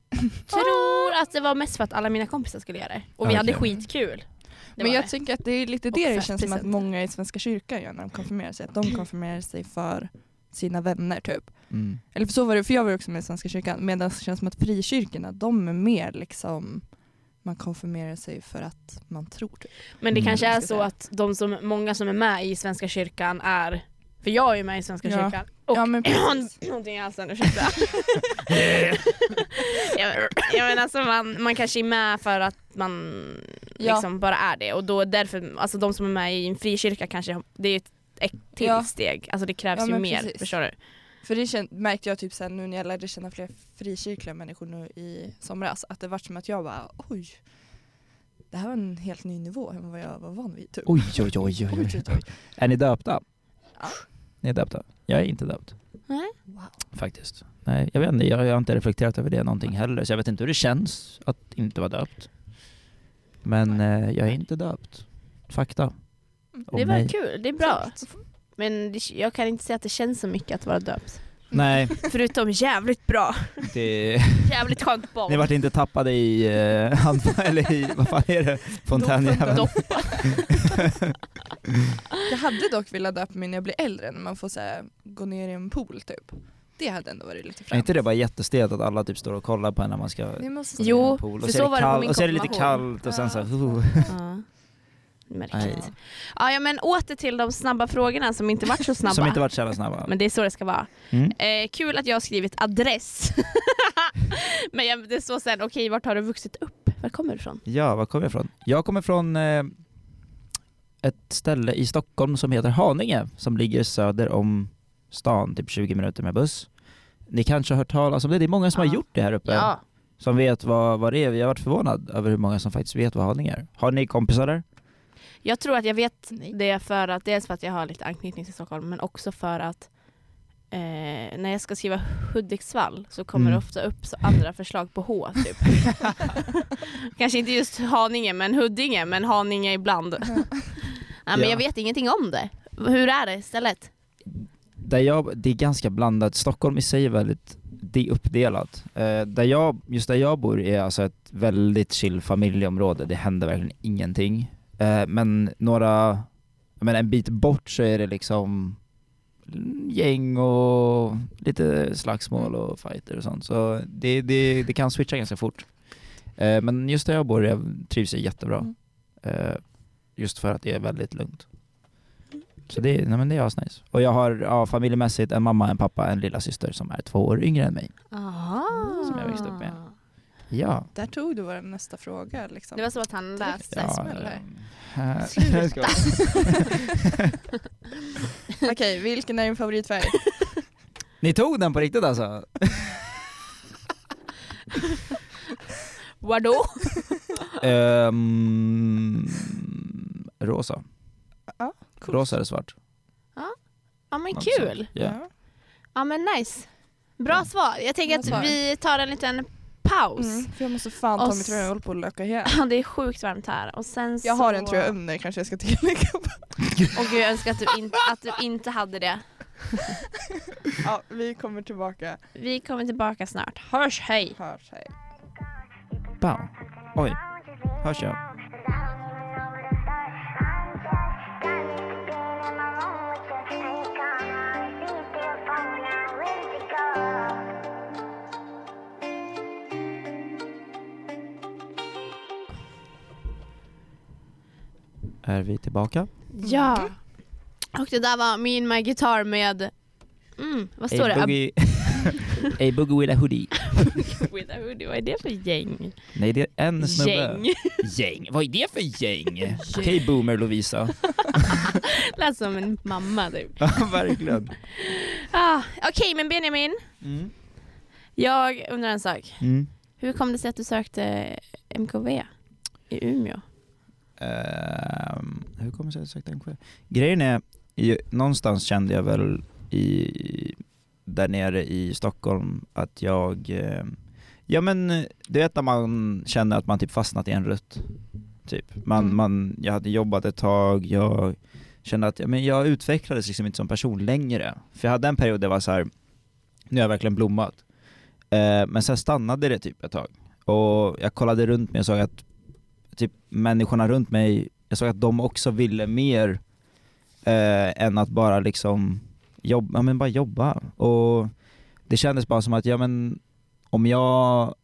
Speaker 1: tror att det var mest för att alla mina kompisar skulle göra det. Och vi
Speaker 3: Okej.
Speaker 1: hade skitkul. Det
Speaker 2: Men
Speaker 1: var
Speaker 2: jag
Speaker 1: det.
Speaker 2: tänker att det är lite
Speaker 1: Och
Speaker 2: det det känns som att
Speaker 1: festpresenter.
Speaker 2: många i Svenska kyrkan gör när de konfirmerar sig. Att de konfirmerar sig för sina vänner typ.
Speaker 3: Mm.
Speaker 2: Eller för så var det, för jag var ju också med i Svenska kyrkan. Medan det känns som att frikyrkorna, de är mer liksom man konfirmerar sig för att man tror. Typ.
Speaker 1: Men det
Speaker 3: Mm.
Speaker 1: kanske är
Speaker 2: Ska
Speaker 1: så
Speaker 2: säga.
Speaker 1: att de som, många som är med i Svenska kyrkan är, för jag är ju med i Svenska
Speaker 2: Ja.
Speaker 1: kyrkan, och
Speaker 2: Ja, men precis.
Speaker 1: någonting i halsen, ursäkta. jag, men- jag menar alltså man, man kanske är med för att man
Speaker 2: Ja.
Speaker 1: liksom bara är det och då därför, alltså de som är med i en frikyrka kanske, har- det är ju ett, ett till
Speaker 2: Ja.
Speaker 1: steg, alltså det krävs
Speaker 2: Ja,
Speaker 1: ju
Speaker 2: men
Speaker 1: mer,
Speaker 2: precis.
Speaker 1: förstår du?
Speaker 2: För det kän- märkte jag typ sen nu när jag lärde känna fler frikyrkliga människor nu i somras. Att det vart som att jag bara oj. Det här var en helt ny nivå än vad jag var van vid. Typ.
Speaker 3: Oj, oj, oj, oj, oj. Är ni döpta?
Speaker 2: Ja.
Speaker 3: Ni är döpta? Jag är inte döpt.
Speaker 1: Nej.
Speaker 2: Wow.
Speaker 3: Faktiskt. Nej, jag vet inte, jag, jag har inte reflekterat över det någonting heller så jag vet inte hur det känns att inte vara döpt. Men eh, jag är inte döpt. Fakta. Om
Speaker 1: Mm, det var
Speaker 3: mig.
Speaker 1: kul, det är bra. Men det, jag kan inte säga att det känns så mycket att vara döpt.
Speaker 3: Nej,
Speaker 1: Förutom jävligt bra,
Speaker 3: det,
Speaker 1: jävligt skönt barn.
Speaker 3: ni vart inte tappade i eh, handboll, eller i, vad fan är det? Fontänjäveln?
Speaker 2: Jag hade dock velat döpa mig när jag blir äldre när man får så här, gå ner i en pool typ. Det hade ändå varit lite
Speaker 3: Är
Speaker 2: främt.
Speaker 3: inte det bara jättestelt att alla typ står och kollar på en när man ska
Speaker 2: Ni
Speaker 3: gå
Speaker 2: måste
Speaker 1: Jo,
Speaker 3: ner i en pool?
Speaker 1: för
Speaker 3: och så,
Speaker 1: så
Speaker 3: är
Speaker 1: var
Speaker 3: det
Speaker 1: det på
Speaker 3: kall,
Speaker 1: min
Speaker 3: och så är det lite
Speaker 1: konfirmation.
Speaker 3: kallt och sen så
Speaker 2: Ja.
Speaker 3: uh,
Speaker 1: Ja. Märkligt.
Speaker 3: Nej.
Speaker 1: Ja, ja, men åter till de snabba frågorna som inte varit så snabba.
Speaker 3: Som inte varit så jävla snabba.
Speaker 1: Men det är så det ska vara.
Speaker 3: Mm.
Speaker 1: Eh, kul att jag har skrivit adress. men jag, det står sen, okej vart har du vuxit upp? Var kommer du ifrån?
Speaker 3: Ja, var kommer jag ifrån? Jag kommer från eh, ett ställe i Stockholm som heter Haninge som ligger söder om stan, typ 20 minuter med buss. Ni kanske har hört talas om det? Det är många som
Speaker 1: Ja.
Speaker 3: har gjort det här uppe. Som vet vad, vad det är. Jag har varit förvånad över hur många som faktiskt vet vad Haninge är. Har ni kompisar där?
Speaker 1: Jag tror att jag vet
Speaker 2: Nej.
Speaker 1: det för att dels för att jag har lite anknytning till Stockholm men också för att eh, när jag ska skriva Hudiksvall så kommer det
Speaker 3: Mm.
Speaker 1: ofta upp så andra förslag på H typ. Kanske inte just Haninge men Huddinge men Haninge ibland. Nej, men
Speaker 3: Ja.
Speaker 1: Jag vet ingenting om det. Hur är det istället?
Speaker 3: Där jag, det är ganska blandat. Stockholm i sig är väldigt det är uppdelat. Eh, där jag, just där jag bor är alltså ett väldigt chill familjeområde. Det händer verkligen ingenting. Eh, men några, jag menar en bit bort så är det liksom gäng och lite slagsmål och fighter och sånt. Så det, det, det kan switcha ganska fort. Eh, men just där jag bor jag trivs jag jättebra.
Speaker 2: Mm.
Speaker 3: Eh, just för att det är väldigt lugnt. Så det, nej men det är asnice. Och jag har ja, familjemässigt en mamma, en pappa, en lilla syster som är två år yngre än mig.
Speaker 1: Aha.
Speaker 3: Som jag växte upp med. Ja.
Speaker 2: Där tog du vår nästa fråga. Liksom.
Speaker 1: Det var så att han lät sig.
Speaker 3: ja
Speaker 2: smäller.
Speaker 3: eh,
Speaker 1: Sluta!
Speaker 2: Okej, vilken är din favoritfärg?
Speaker 3: Ni tog den på riktigt alltså?
Speaker 1: Vadå?
Speaker 3: Ehm, rosa.
Speaker 2: Ja, coolt.
Speaker 3: Rosa eller svart.
Speaker 1: Ja men
Speaker 3: Något sånt.
Speaker 1: kul.
Speaker 3: Ja.
Speaker 1: Ja men nice. Bra svar. Jag tänker
Speaker 2: Bra
Speaker 1: att
Speaker 2: svar.
Speaker 1: vi tar en liten paus.
Speaker 2: Mm, för jag måste fan ta
Speaker 1: Och
Speaker 2: mig
Speaker 1: s-
Speaker 2: tröja, jag håller på att löka igen.
Speaker 1: Ja, Det är sjukt varmt här och sen
Speaker 2: Jag
Speaker 1: så...
Speaker 2: har en tröja under kanske jag ska tillägga.
Speaker 1: Åh gud jag önskar att du, in... att du inte hade det.
Speaker 2: ja, vi kommer tillbaka.
Speaker 1: Vi kommer tillbaka snart. Hörs hej!
Speaker 2: Hörs, hej.
Speaker 3: Bow. Oj. Hörs jag? Är vi tillbaka?
Speaker 1: Ja. Och det där var Me and My Guitar med... Mm, vad står det?
Speaker 3: A boogie, a boogie with a hoodie.
Speaker 1: Ab- with a hoodie. Vad är det för gäng?
Speaker 3: Nej, det är en snubbe.
Speaker 1: Gäng.
Speaker 3: Gäng. Vad är det för gäng? Okej boomer Lovisa.
Speaker 1: Lät som en mamma typ.
Speaker 3: Ja, verkligen.
Speaker 1: Ah, Okej men Benjamin,
Speaker 3: Mm.
Speaker 1: jag undrar en sak. Hur kom det sig att du sökte MKV i Umeå?
Speaker 3: Ehm, hur kommer det sig att jag sökte NKV? Grejen är, ju, någonstans kände jag väl i, där nere i Stockholm att jag, eh, ja men du vet när man känner att man typ fastnat i en rutt. Typ. Man,
Speaker 1: Mm.
Speaker 3: man, jag hade jobbat ett tag, jag kände att ja, men jag utvecklades liksom inte som person längre. För jag hade en period där jag var så här, nu har jag verkligen blommat. Eh, men sen stannade det typ ett tag. Och jag kollade runt mig och såg att typ människorna runt mig, jag såg att de också ville mer eh, än att bara liksom jobba, ja, men bara jobba. Och det kändes bara som att ja, men om jag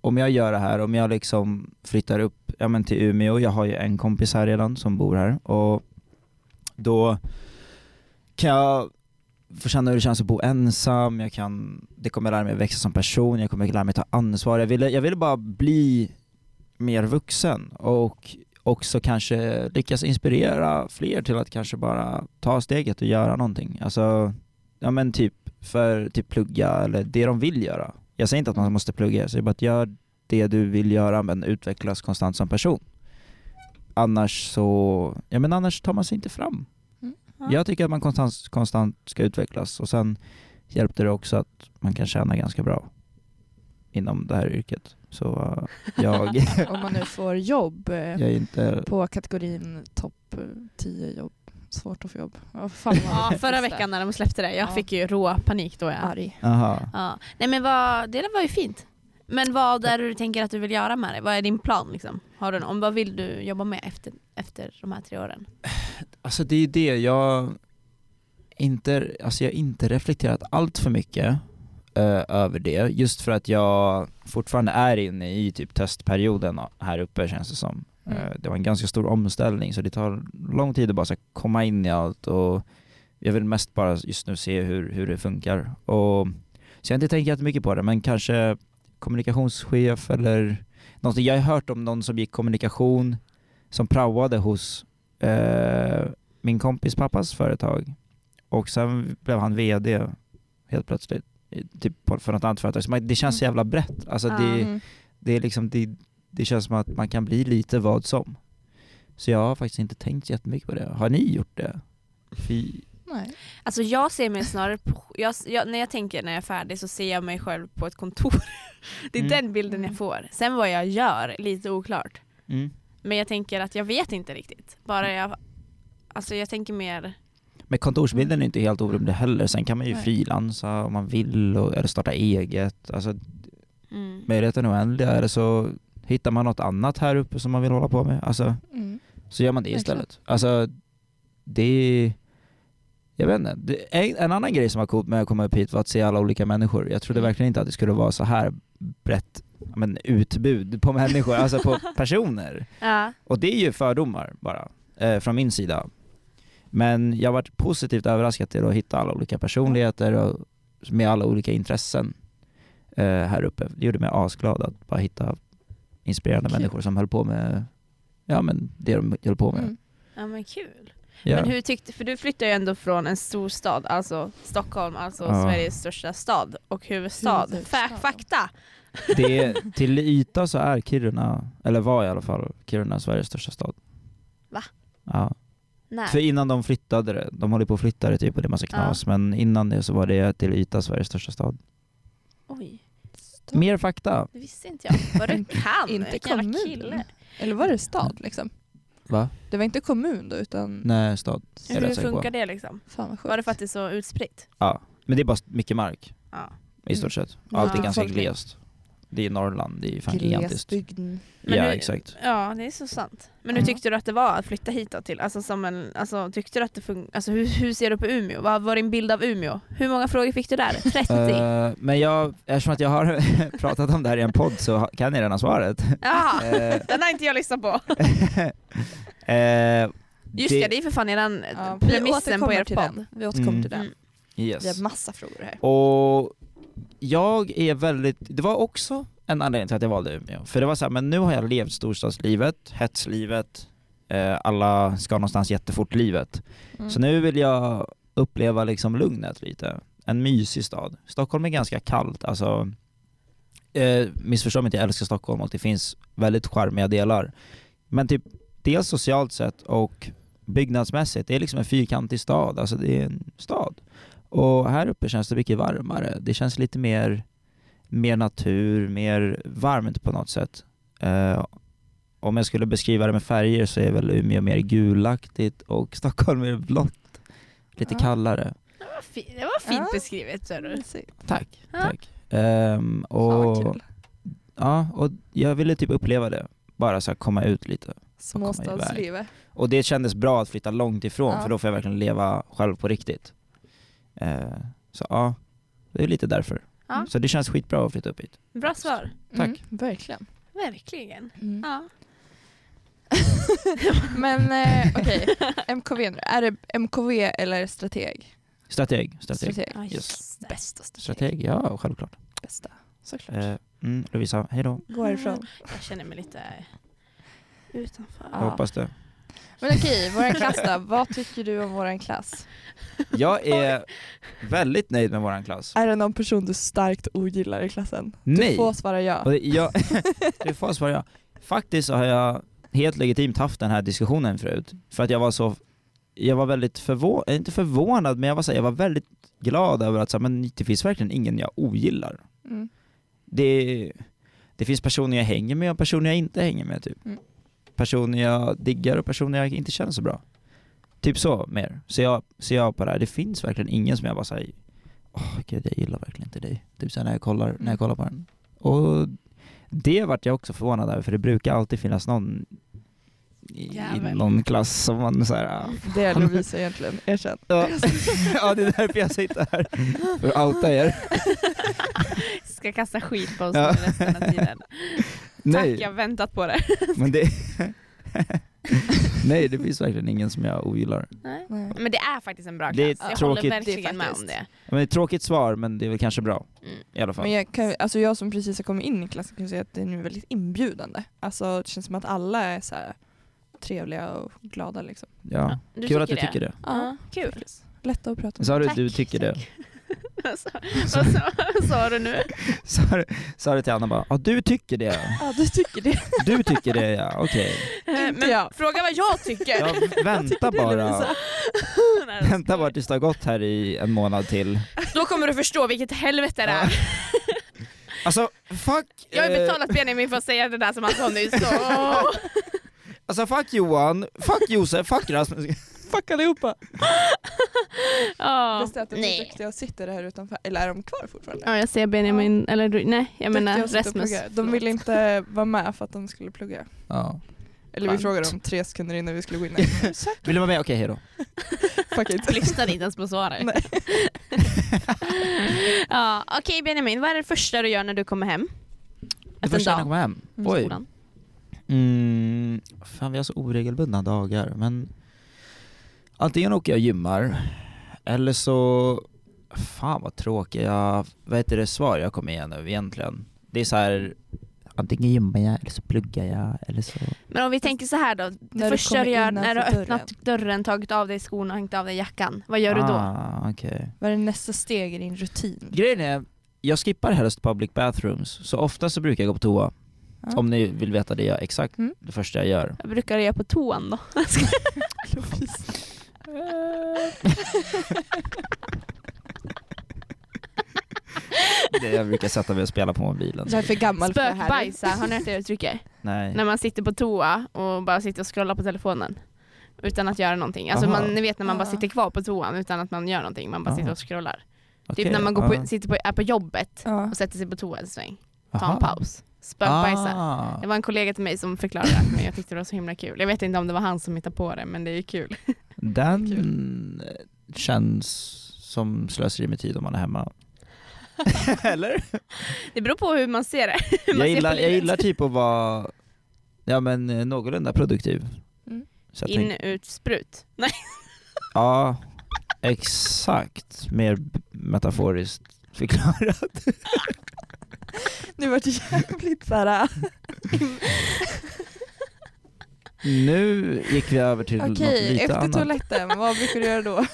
Speaker 3: om jag gör det här, om jag liksom flyttar upp ja, men till Umeå, jag har ju en kompis här redan som bor här och då kan jag få känna hur det känns att bo ensam, jag kan, det kommer lära mig att växa som person, jag kommer lära mig att ta ansvar. Jag ville, jag ville bara bli mer vuxen och också kanske lyckas inspirera fler till att kanske bara ta steget och göra någonting. Alltså, ja men typ för typ plugga eller det de vill göra. Jag säger inte att man måste plugga, jag säger bara att gör det du vill göra men utvecklas konstant som person. Annars så, ja men annars tar man sig inte fram.
Speaker 2: Mm.
Speaker 1: Ja.
Speaker 3: Jag tycker att man konstant, konstant ska utvecklas och sen hjälpte det också att man kan tjäna ganska bra inom det här yrket. Så eh, jag,
Speaker 2: Om man nu får jobb eh,
Speaker 3: jag är inte
Speaker 2: på kategorin topp eh, 10 jobb. Svårt att få jobb. Ja, fan vad
Speaker 1: Ja,
Speaker 2: jag
Speaker 1: förra
Speaker 2: visste.
Speaker 1: veckan när de släppte det, jag
Speaker 2: Ja.
Speaker 1: fick ju rå panik då. Jag.
Speaker 2: Arg.
Speaker 3: Aha.
Speaker 1: Ja. Nej men vad, det var ju fint. Men vad är det du tänker att du vill göra med det? Vad är din plan liksom? Har du någon? Vad vill du jobba med efter, efter de här tre åren?
Speaker 3: Alltså det är ju det, jag inte, alltså jag har inte reflekterat allt för mycket eh, över det, just för att jag fortfarande är inne i typ testperioden här uppe känns det som.
Speaker 2: Mm.
Speaker 3: Eh, det var en ganska stor omställning så det tar lång tid att bara så här, komma in i allt och jag vill mest bara just nu se hur, hur det funkar. Och, så jag har inte tänkt jättemycket på det men kanske kommunikationschef eller någonting. Jag har hört om någon som gick kommunikation som praoade hos eh, min kompis pappas företag och sen blev han VD helt plötsligt i- typ på- för något annat företag. Så man, det känns så jävla brett. Alltså
Speaker 1: Ja.
Speaker 3: det,
Speaker 2: Mm.
Speaker 3: det, är liksom, det, det känns som att man kan bli lite vad som. Så jag har faktiskt inte tänkt jättemycket på det. Har ni gjort det? Fy.
Speaker 2: Nej.
Speaker 1: Alltså jag ser mig snarare på, jag, jag, när jag tänker när jag är färdig så ser jag mig själv på ett kontor. Det är
Speaker 3: Mm.
Speaker 1: den bilden jag får. Sen vad jag gör, lite oklart.
Speaker 3: mm.
Speaker 1: Men jag tänker att jag vet inte riktigt. Bara jag, alltså jag tänker mer,
Speaker 3: Men kontorsbilden är inte helt orimlig heller. Sen kan man ju
Speaker 2: Nej.
Speaker 3: frilansa om man vill och, eller starta eget. Alltså
Speaker 1: mm.
Speaker 3: möjligheten är oändlig. Eller så hittar man något annat här uppe som man vill hålla på med. Alltså,
Speaker 2: Mm.
Speaker 3: så gör man det
Speaker 2: Verkligen.
Speaker 3: istället. Alltså, det, Jag vet inte. Det- En, en annan grej som var coolt med att komma upp hit var att se alla olika människor. Jag trodde verkligen inte att det skulle vara så här brett ja, men, utbud på människor, alltså på personer.
Speaker 1: Ja.
Speaker 3: Och det är ju fördomar bara, eh, från min sida. Men jag varit positivt överraskad till att hitta alla olika personligheter och med alla olika intressen eh, här uppe. Det gjorde mig asglad att bara hitta inspirerande
Speaker 2: Kul.
Speaker 3: människor som höll på med ja, men det de höll på med.
Speaker 2: Mm.
Speaker 1: ja men kul.
Speaker 3: Ja.
Speaker 1: Men hur tyckte, för du flyttade ju ändå från en storstad, alltså Stockholm, alltså
Speaker 3: Ja.
Speaker 1: Sveriges största stad och huvudstad.
Speaker 2: Huvudstad.
Speaker 1: Fak, fakta!
Speaker 3: Det är, till yta så är Kiruna, eller var i alla fall, Kiruna Sveriges största stad.
Speaker 1: Va?
Speaker 3: Ja.
Speaker 1: Nej.
Speaker 3: För innan de flyttade det, de håller på att flytta det typ och det är massa knas, men innan det så var det till yta Sveriges största stad.
Speaker 1: Oj,
Speaker 3: Mer fakta.
Speaker 1: det visste inte jag. Vad du kan!
Speaker 2: Inte
Speaker 1: Vilken jävla
Speaker 2: kommun.
Speaker 1: kille.
Speaker 2: Eller var det stad liksom?
Speaker 3: Va?
Speaker 2: Det var inte kommun då utan...
Speaker 3: Nej, stad. är jag
Speaker 1: Hur
Speaker 3: säker på.
Speaker 1: funkar det liksom?
Speaker 2: Fan vad sjukt.
Speaker 1: Var det för att det är så utspritt?
Speaker 3: Ja. Men det är bara mycket mark
Speaker 1: Ja. Mm.
Speaker 3: i stort sett.
Speaker 2: Ja.
Speaker 3: Allt är ganska
Speaker 2: Befolkning.
Speaker 3: glest. Det är Norrland, det är fan gigantiskt.
Speaker 2: Glesbygden.
Speaker 1: Men
Speaker 3: ja,
Speaker 1: hur-
Speaker 3: exakt.
Speaker 1: Ja, det är så sant. Men hur
Speaker 2: Ja.
Speaker 1: tyckte du att det var att flytta hit då till? Alltså, som en, alltså tyckte du att det fun- alltså, hur, hur ser du på Umeå? Vad var din bild av Umeå? Hur många frågor fick du där? 30?
Speaker 3: Eh, men jag, eftersom att jag har pratat om det här i en podd så ha- kan jag redan svaret.
Speaker 1: ja,
Speaker 3: Eh,
Speaker 1: den har inte jag lyssnat på.
Speaker 3: eh,
Speaker 1: Just det, det är för fan eran
Speaker 2: Ja, vi
Speaker 1: premissen på
Speaker 2: återkommer
Speaker 1: er
Speaker 2: till
Speaker 1: podd.
Speaker 2: den. Vi återkommer
Speaker 3: Mm.
Speaker 2: till den.
Speaker 1: Mm.
Speaker 3: Yes.
Speaker 2: Vi har massa frågor här.
Speaker 3: Och jag är väldigt, det var också en anledning till att jag valde Umeå. För det var så här, men nu har jag levt storstadslivet, hetslivet, eh, alla ska någonstans jättefort-livet.
Speaker 1: Mm.
Speaker 2: Mm.
Speaker 3: Så nu vill jag uppleva liksom lugnet lite. En mysig stad. Stockholm är ganska kallt, alltså eh, missförstå mig inte, jag älskar Stockholm och det finns väldigt charmiga delar. Men typ, dels socialt sett och byggnadsmässigt, det är liksom en fyrkantig stad, alltså det är en stad. Och här uppe känns det mycket varmare. Det känns lite mer, mer natur, mer varmt på något sätt. Eh, om jag skulle beskriva det med färger så är väl Umeå mer gulaktigt och Stockholm är blått. Lite
Speaker 2: Ja.
Speaker 3: kallare.
Speaker 1: Det var, fi- det var fint
Speaker 2: Ja. Mm.
Speaker 1: beskrivet. Ser du.
Speaker 2: Mysigt.
Speaker 3: Tack.
Speaker 1: Ja.
Speaker 3: tack. Ehm,
Speaker 2: Fan
Speaker 3: och,
Speaker 2: vad kul.
Speaker 3: ja, och jag ville typ uppleva det. Bara så här komma ut lite. komma iväg.
Speaker 2: Småstadslivet.
Speaker 3: Och det kändes bra att flytta långt ifrån
Speaker 2: Ja.
Speaker 3: för då får jag verkligen leva själv på riktigt. Eh, så ja, det är lite därför.
Speaker 1: Ja.
Speaker 3: Så det känns skitbra att flytta upp hit.
Speaker 1: Bra svar.
Speaker 3: Tack.
Speaker 2: Mm, verkligen.
Speaker 1: Verkligen.
Speaker 2: Mm.
Speaker 1: Ja.
Speaker 2: Men eh, okej, MKV nu. Är det MKV eller strateg?
Speaker 3: Strateg, strateg. Strateg,
Speaker 1: Ja,
Speaker 3: just
Speaker 1: det.
Speaker 2: Bästa strateg.
Speaker 3: ja självklart.
Speaker 2: Bästa, såklart.
Speaker 3: Eh, mm, Lovisa, hejdå.
Speaker 2: Gå härifrån.
Speaker 1: Jag känner mig lite utanför.
Speaker 3: Jag
Speaker 2: Ja.
Speaker 3: hoppas det.
Speaker 2: Men okej, våran klass då. Vad tycker du om våran klass?
Speaker 3: Jag är väldigt nöjd med våran klass.
Speaker 2: Är det någon person du starkt ogillar i klassen?
Speaker 3: Nej!
Speaker 2: Du får svara ja.
Speaker 3: Och det- jag, det får svara ja. Faktiskt så har jag helt legitimt haft den här diskussionen förut. För att jag var så, jag var väldigt förvånad, inte förvånad men jag var, så, här, jag var väldigt glad över att så, här, men det finns verkligen ingen jag ogillar.
Speaker 2: Mm.
Speaker 3: Det, det finns personer jag hänger med och personer jag inte hänger med typ.
Speaker 2: Mm.
Speaker 3: Personer jag diggar och personer jag inte känner så bra. Typ så mer. Så jag, så jag på det här, det finns verkligen ingen som jag bara säger Åh gud jag gillar verkligen inte dig. Typ så här när jag kollar, när jag kollar på den. Och det vart jag också förvånad över för det brukar alltid finnas någon i, i
Speaker 1: Jävel.
Speaker 3: någon klass som man såhär, ah,
Speaker 2: Det är Lovisa egentligen, erkänn.
Speaker 3: Ja. ja det är därför jag sitter här. För att outa er.
Speaker 1: Ska kasta skit på oss
Speaker 3: Ja.
Speaker 1: nu resten av tiden. Tack, jag har väntat på det.
Speaker 3: Men det... Nej, det finns verkligen ingen som jag ogillar.
Speaker 1: Nej.
Speaker 2: Nej.
Speaker 1: Men det är faktiskt en bra klass.
Speaker 3: Det är
Speaker 1: jag
Speaker 3: tråkigt.
Speaker 1: håller verkligen
Speaker 2: Det är
Speaker 1: med
Speaker 2: faktiskt-
Speaker 1: om det.
Speaker 3: Men det är ett tråkigt svar, men det är väl kanske bra.
Speaker 1: Mm.
Speaker 3: I alla fall.
Speaker 2: Men jag, kan, alltså jag som precis har kommit in i klassen kan ju säga att den är väldigt inbjudande. Alltså det känns som att alla är så här trevliga och glada liksom.
Speaker 3: ja.
Speaker 1: Du
Speaker 3: Kul att du tycker det.
Speaker 1: Ja, kul.
Speaker 2: Lätta att prata med.
Speaker 3: Sa du
Speaker 1: Tack,
Speaker 3: du tycker det?
Speaker 1: Alltså, vad sa- vad sa du nu?
Speaker 3: Sa du- Sa du till Anna bara, ja du tycker det.
Speaker 2: Ja du tycker det.
Speaker 3: Du tycker det ja, okej.
Speaker 1: Eh, Men
Speaker 2: jag.
Speaker 1: fråga vad jag tycker.
Speaker 3: Jag väntar bara.
Speaker 1: Nej, då
Speaker 3: Vänta
Speaker 1: ska-
Speaker 3: bara tills det har gått här i en månad till.
Speaker 1: Då kommer du förstå vilket helvete det är.
Speaker 3: Alltså fuck.
Speaker 1: Jag har ju
Speaker 3: eh,
Speaker 1: betalat Benjamin för att säga det där som han sa nu. Så.
Speaker 3: Alltså fuck Johan, fuck Josef, fuck Rasmus.
Speaker 2: Fuck allihopa.
Speaker 1: Ja.
Speaker 2: Bäst är att de är duktiga och sitter här utanför. Eller är de kvar fortfarande?
Speaker 1: Ja jag ser Benjamin, eller du- nej jag menar
Speaker 2: Duktiga och sitter och
Speaker 1: Rasmus.
Speaker 2: pluggar. De ville inte vara med för att de skulle plugga.
Speaker 3: Ja.
Speaker 2: Eller vi
Speaker 1: Skönt.
Speaker 2: frågade dem tre sekunder innan vi skulle gå in. Nej, Ursäkta,
Speaker 3: Vill du vara med? Okej, hejdå.
Speaker 2: fuck it.
Speaker 1: Lyssnade inte ens på svaret.
Speaker 2: Nej.
Speaker 1: ja, Okej Benjamin, vad är det första du gör när du kommer hem?
Speaker 3: Det
Speaker 1: Efter en
Speaker 3: första när jag
Speaker 1: dag
Speaker 3: kommer hem.
Speaker 2: Mm,
Speaker 1: på
Speaker 3: Oj.
Speaker 1: skolan?
Speaker 3: Mm, fan vi har så oregelbundna dagar men antingen åker jag och gymmar eller så, fan vad tråkigt jag, vad heter det svar jag kommer igen nu egentligen? Det är så här antingen gymmar jag eller så pluggar jag eller så
Speaker 1: Men om vi tänker så här då. Det
Speaker 2: När du
Speaker 1: första du
Speaker 2: kommer
Speaker 1: gör när du har
Speaker 2: innanför
Speaker 1: öppnat dörren, tagit av dig skorna och hängt av dig jackan. Vad gör du då?
Speaker 3: Ah, okej.
Speaker 2: Vad är nästa steg i din rutin?
Speaker 3: Grejen är, jag skippar helst public bathrooms så ofta så brukar jag gå på toa.
Speaker 2: Ja.
Speaker 3: Om ni vill veta det jag exakt
Speaker 2: Mm.
Speaker 3: det första jag gör.
Speaker 1: Jag brukar göra på toan då.
Speaker 3: Det jag brukar sätta mig och spela på mobilen.
Speaker 2: Jag är för gammal för det här.
Speaker 1: Spökbajsa, har ni hört det uttrycket?
Speaker 3: Nej.
Speaker 1: När man sitter på toa och bara sitter och scrollar på telefonen. Utan att göra någonting. Alltså
Speaker 3: Aha.
Speaker 1: man, ni vet när man bara
Speaker 2: Ja.
Speaker 1: sitter kvar på toan utan att man gör någonting. Man bara
Speaker 3: Aha.
Speaker 1: sitter och scrollar.
Speaker 3: Okej, Ah.
Speaker 1: Typ när man går
Speaker 3: ja.
Speaker 1: på, sitter på, är på jobbet
Speaker 2: Ja.
Speaker 1: och sätter sig på toa en sväng. Ta en
Speaker 3: Aha.
Speaker 1: paus. Spökbajsa.
Speaker 3: Ah.
Speaker 1: Det var en kollega till mig som förklarade det här för mig. Jag tyckte det var så himla kul. Jag vet inte om det var han som hittade på det men det är ju kul.
Speaker 3: Den känns som slöseri med tid om man är hemma. Eller?
Speaker 1: Det beror på hur man ser det. Hur man
Speaker 3: Jag
Speaker 1: ser
Speaker 3: gillar,
Speaker 1: på
Speaker 3: jag
Speaker 1: livet.
Speaker 3: gillar typ att vara ja, men, eh, någorlunda produktiv.
Speaker 2: Mm.
Speaker 3: Så jag
Speaker 1: In,
Speaker 3: tänk,
Speaker 1: ut, sprut. Nej.
Speaker 3: ja, exakt. Mer b- metaforiskt förklarat.
Speaker 2: Nu vart det jävligt äh, såhär...
Speaker 3: Nu gick vi över till något
Speaker 2: Okej,
Speaker 3: lite
Speaker 2: efter
Speaker 3: annat.
Speaker 2: toaletten, vad brukar du göra då?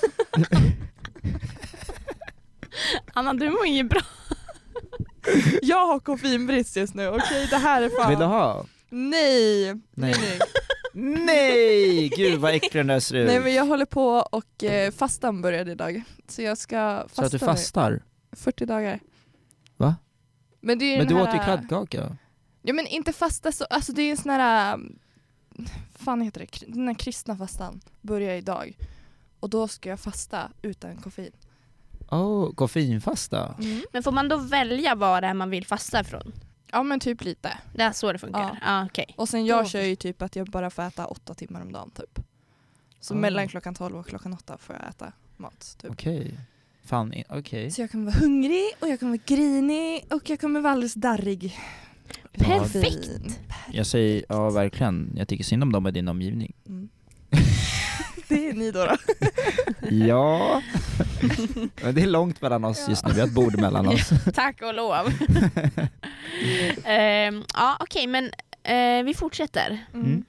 Speaker 1: Anna du mår ju bra.
Speaker 2: Jag har koffeinbrist just nu, okej det här är fan...
Speaker 3: Vill du ha?
Speaker 2: Nej! Nej.
Speaker 3: Nej.
Speaker 2: Nej,
Speaker 3: Nej! Gud vad äcklig den där ser ut.
Speaker 2: nej men jag håller på och eh, fastan började idag. Så jag ska fasta
Speaker 3: Så att du
Speaker 2: nu.
Speaker 3: fastar?
Speaker 2: 40 dagar.
Speaker 3: Va?
Speaker 2: Men, det är ju
Speaker 3: Men
Speaker 2: den
Speaker 3: du
Speaker 2: här,
Speaker 3: åt ju kladdkaka.
Speaker 2: Ja men inte fasta så, alltså det är en sån här, ähm, fan heter det, Kri- den här kristna fastan börjar idag. Och då ska jag fasta utan koffein.
Speaker 3: Åh, koffeinfasta?
Speaker 1: Men får man då välja vad det är man vill fasta ifrån?
Speaker 2: Ja men typ lite.
Speaker 1: Det är så det funkar? Ja,
Speaker 2: Ja.
Speaker 1: okej.
Speaker 2: Och sen jag
Speaker 1: Då
Speaker 2: kör ju typ att jag bara får äta åtta timmar om dagen typ. Så
Speaker 3: Ah.
Speaker 2: mellan klockan 12 och klockan 8 får jag äta mat typ.
Speaker 3: Okej. Fan, i- okej.
Speaker 2: Så jag kommer vara hungrig och jag kommer vara grinig och jag kommer vara alldeles darrig.
Speaker 1: Perfekt.
Speaker 2: Fin.
Speaker 3: Jag säger, ja verkligen, jag tycker synd om dem i din omgivning.
Speaker 2: Mm. det är ni då. då.
Speaker 3: Ja. Men det är långt mellan oss just nu, vi har ett bord mellan oss.
Speaker 1: Tack och lov. Ehm, ja, okej men eh, vi fortsätter.
Speaker 3: Mm.